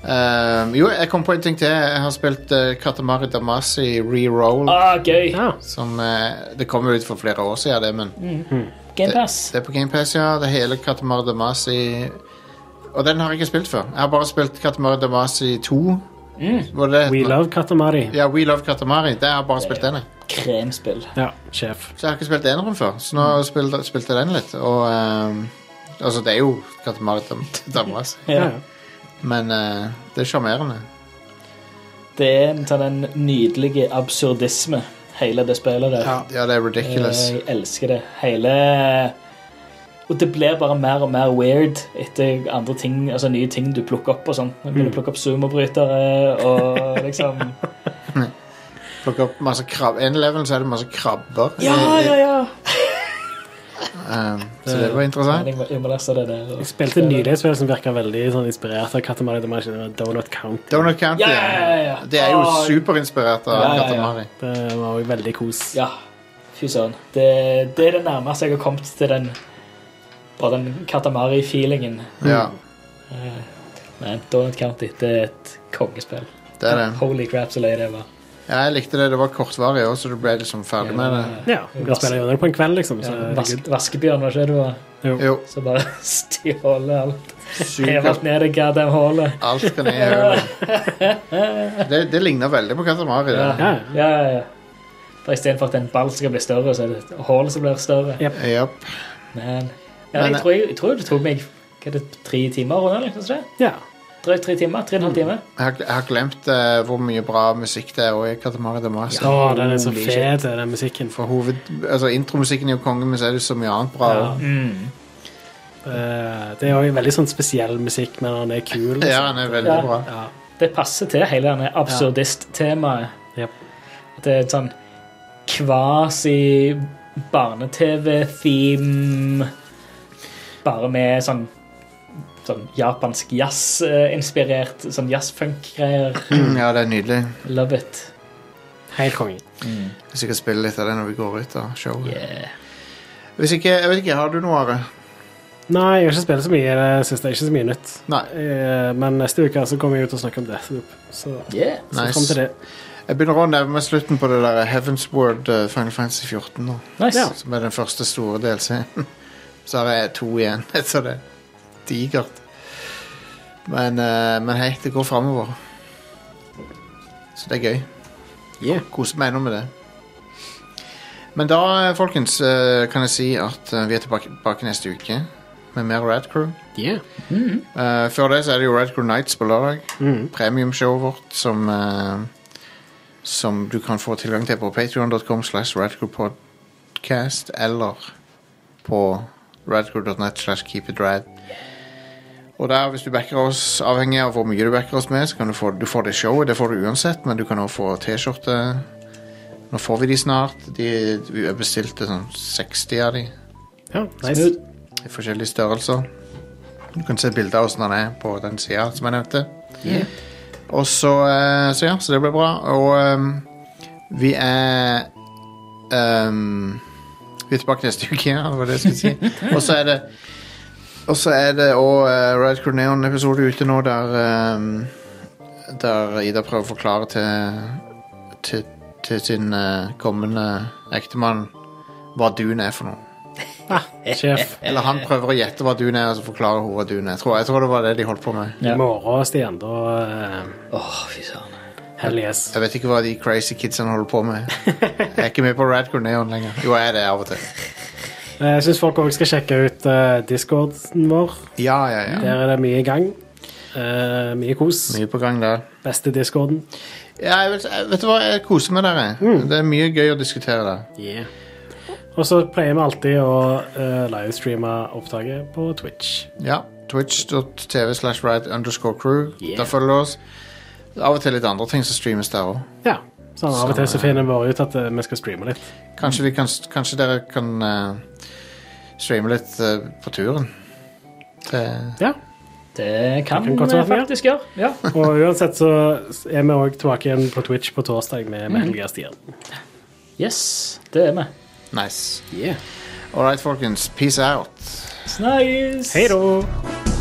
B: Um, jo, jeg kom på en ting til. Jeg har spilt eh, Katamari Damasi Reroll.
C: Ah, gøy.
D: ja.
B: Som, eh, det kom jo ut for flere år siden, det, men
D: Mm.
C: Gamepass.
B: det er på GamePass, ja. Det er hele Katamari Damasi. Og den har jeg ikke spilt før. Jeg har bare spilt Katamari Damasi 2. Var det det
D: Mm. We
B: het?
D: love Katamari.
B: Ja, We Love Katamari. Det har jeg bare spilt den, jeg.
C: Kremspill.
D: Ja, sjef.
B: Så jeg har ikke spilt eneren før, så nå
D: Mm.
B: spilte, spilte jeg den litt. Og ehm, Altså, det er jo Katamari Dam- Damacy,
D: Ja.
C: Ja.
D: ja.
B: men eh, det er sjarmerende.
C: Det er en sånn en nydelig absurdisme, hele det spillet der.
B: Ja, det er ridiculous.
D: Eh,
C: Jeg elsker det. Hele Og det blir bare mer og mer weird etter andre ting, altså nye ting du plukker opp og sånn. Du begynner å plukke opp sumobrytere og liksom
B: Plukke opp masse krabb En level så er det masse krabber.
C: Ja, ja, ja!
B: Ehm, så det var interessant.
C: Jeg må, jeg må lese det der. og-
D: Jeg spilte nylig et spill som virka veldig sånn, inspirert av Katamari Damacy. det var Donut Count.
B: Donut County.
C: Ja, ja, ja, ja.
B: Det er jo
C: Åh.
B: superinspirert av
C: Ja, ja, ja.
B: Katamari.
D: Det var jo veldig kos.
C: Ja. Fy søren. Det, det er det nærmeste jeg har kommet til den Bare den Katamari-feelingen.
B: Ja,
C: Men Donut County, det er et kongespill.
B: det er
D: Mm.
B: det.
C: Holy crap, så løy det var.
B: Ja, jeg likte det. Det var kortvarig òg, så du ble liksom ferdig med det.
D: Ja, Du kan spille gjennom det på en kveld, liksom. Så,
C: Ja,
D: herregud.
C: Eh, vaske, vaskebjørn, var ikke det det var?
B: Jo,
C: Så bare stjålet alt.
B: sykt.
C: Hevet ned i goddamn hullet.
B: Alt skal ned i hølet. Det, det ligner veldig på Katamari. Det.
C: Ja,
D: ja.
C: ja, ja. ja. For Istedenfor at en ball skal bli større, så er det et hull som blir større.
B: Japp.
C: Men, ja,
B: Men-
C: jeg, tror, jeg, tror det tok meg hva er det, tre timer å runde eller noe sånt.
D: ja.
C: Drøyt tre timer. Tre og en halv time.
B: Jeg har, jeg har glemt eh, hvor mye bra musikk det er også i Katamari Damacy.
D: Å, den er så
C: Holy shit.
D: fet, den musikken.
B: For hoved, altså, intromusikken er jo konge, men så er det så mye annet bra.
D: Ja.
B: også.
D: Eh, det er jo veldig sånn spesiell musikk, men den er kul.
B: Ja,
D: Liksom.
B: den er veldig
C: Ja.
B: bra.
D: Ja.
C: Det passer til hele denne absurdist-temaet.
D: Jep.
C: Det er et sånn kvasi barne-TV-theme Bare med sånn, sånn japansk jazz-inspirert, sånn jazz-funk-greier.
B: Ja, det er nydelig.
C: Love it.
D: Helt konge.
B: Hvis jeg kan spille litt av det når vi går ut av showet.
C: Yeah.
B: Hvis ikke, jeg vet ikke, har du noe, Are?
D: Nei, jeg har ikke spilt så mye i det siste. Ikke så mye nytt.
B: Nei.
D: Eh, men neste uke så kommer jeg jo til å snakke om Deathloop. Så,
C: Yeah.
D: så
B: Nice.
D: fram til det.
B: Jeg begynner å nærme meg slutten på det der Heavensward eh, Final Fantasy 14 nå.
C: Nice.
D: Ja.
B: Som er den første store DLC-en. Så har jeg to igjen etter det. Digert. Men, eh, men hei, det går framover. Så det er gøy.
D: Yeah.
B: Kose meg ennå med det. Men da, eh, folkens, eh, kan jeg si at eh, vi er tilbake, tilbake neste uke med mer Rad Crew.
D: Yeah.
B: Eh, før det så er det jo Red Crew Nights på lørdag. Premiumshowet vårt som eh, Som du kan få tilgang til på patreon.com slash radcrewpodcast eller på radcrew.net slash keepitrad. Og der, hvis du backer oss, avhengig av hvor mye du backer oss med, så kan du få du får det showet. Det får du uansett, men du kan også få T-skjorte. Nå får vi de snart. De, vi bestilte sånn 60 av de
D: Ja, nice.
B: i forskjellige størrelser. Du kan se bilder av hvordan han er på den sida som jeg nevnte. Og så, eh, så ja, så det ble bra. Og ehm, vi er ehm, Vi er tilbake neste uke, ja, det var det jeg skulle si. Og så er det og så er det òg uh, Red Crew Neon-episode ute nå der ehm, Der Ida prøver å forklare til til, til sin eh, kommende ektemann hva dun er for noe.
D: Ah, sjef.
B: Eller han prøver å gjette hva dun er, og så forklarer hun hva dun er. Jeg tror, jeg tror det var det de holdt på med.
D: I morgen, Stian, da eh,
C: Åh, fy søren.
D: Hell yes.
B: Jeg vet ikke hva de crazy kidsene holder på med. Jeg er ikke med på Rad Neon lenger. Jo, jeg er det av og til.
D: Eh, Jeg syns folk også skal sjekke ut eh, discorden vår.
B: Ja, ja, ja.
D: Der er det mye i gang. Eh, mye kos.
B: Mye på gang der.
D: Beste discorden.
B: Ja, jeg vet, jeg, vet du hva, jeg koser meg der, jeg. Det er mye gøy å diskutere der.
D: Og så pleier vi alltid å eh, livestreame opptaket på Twitch.
B: Ja. Twitch.tv slash rad underscore crew. Der følger du oss. Av og til litt andre ting som streames der òg.
D: Ja. Så av og til så finner vi ut at eh, vi skal streame litt.
B: Kanskje, vi kan, kanskje dere kan eh, streame litt eh, på turen. Det
D: Ja.
C: Det kan,
D: kan godt
C: vi
D: være, ja.
C: Mm, faktisk gjøre. Ja.
D: Og uansett så er vi òg tilbake igjen på Twitch på torsdag med, med Helga Stian.
C: Yes, det er vi.
B: Nice. All right, folkens. Peace out.
C: Snakkes!
D: Hei da!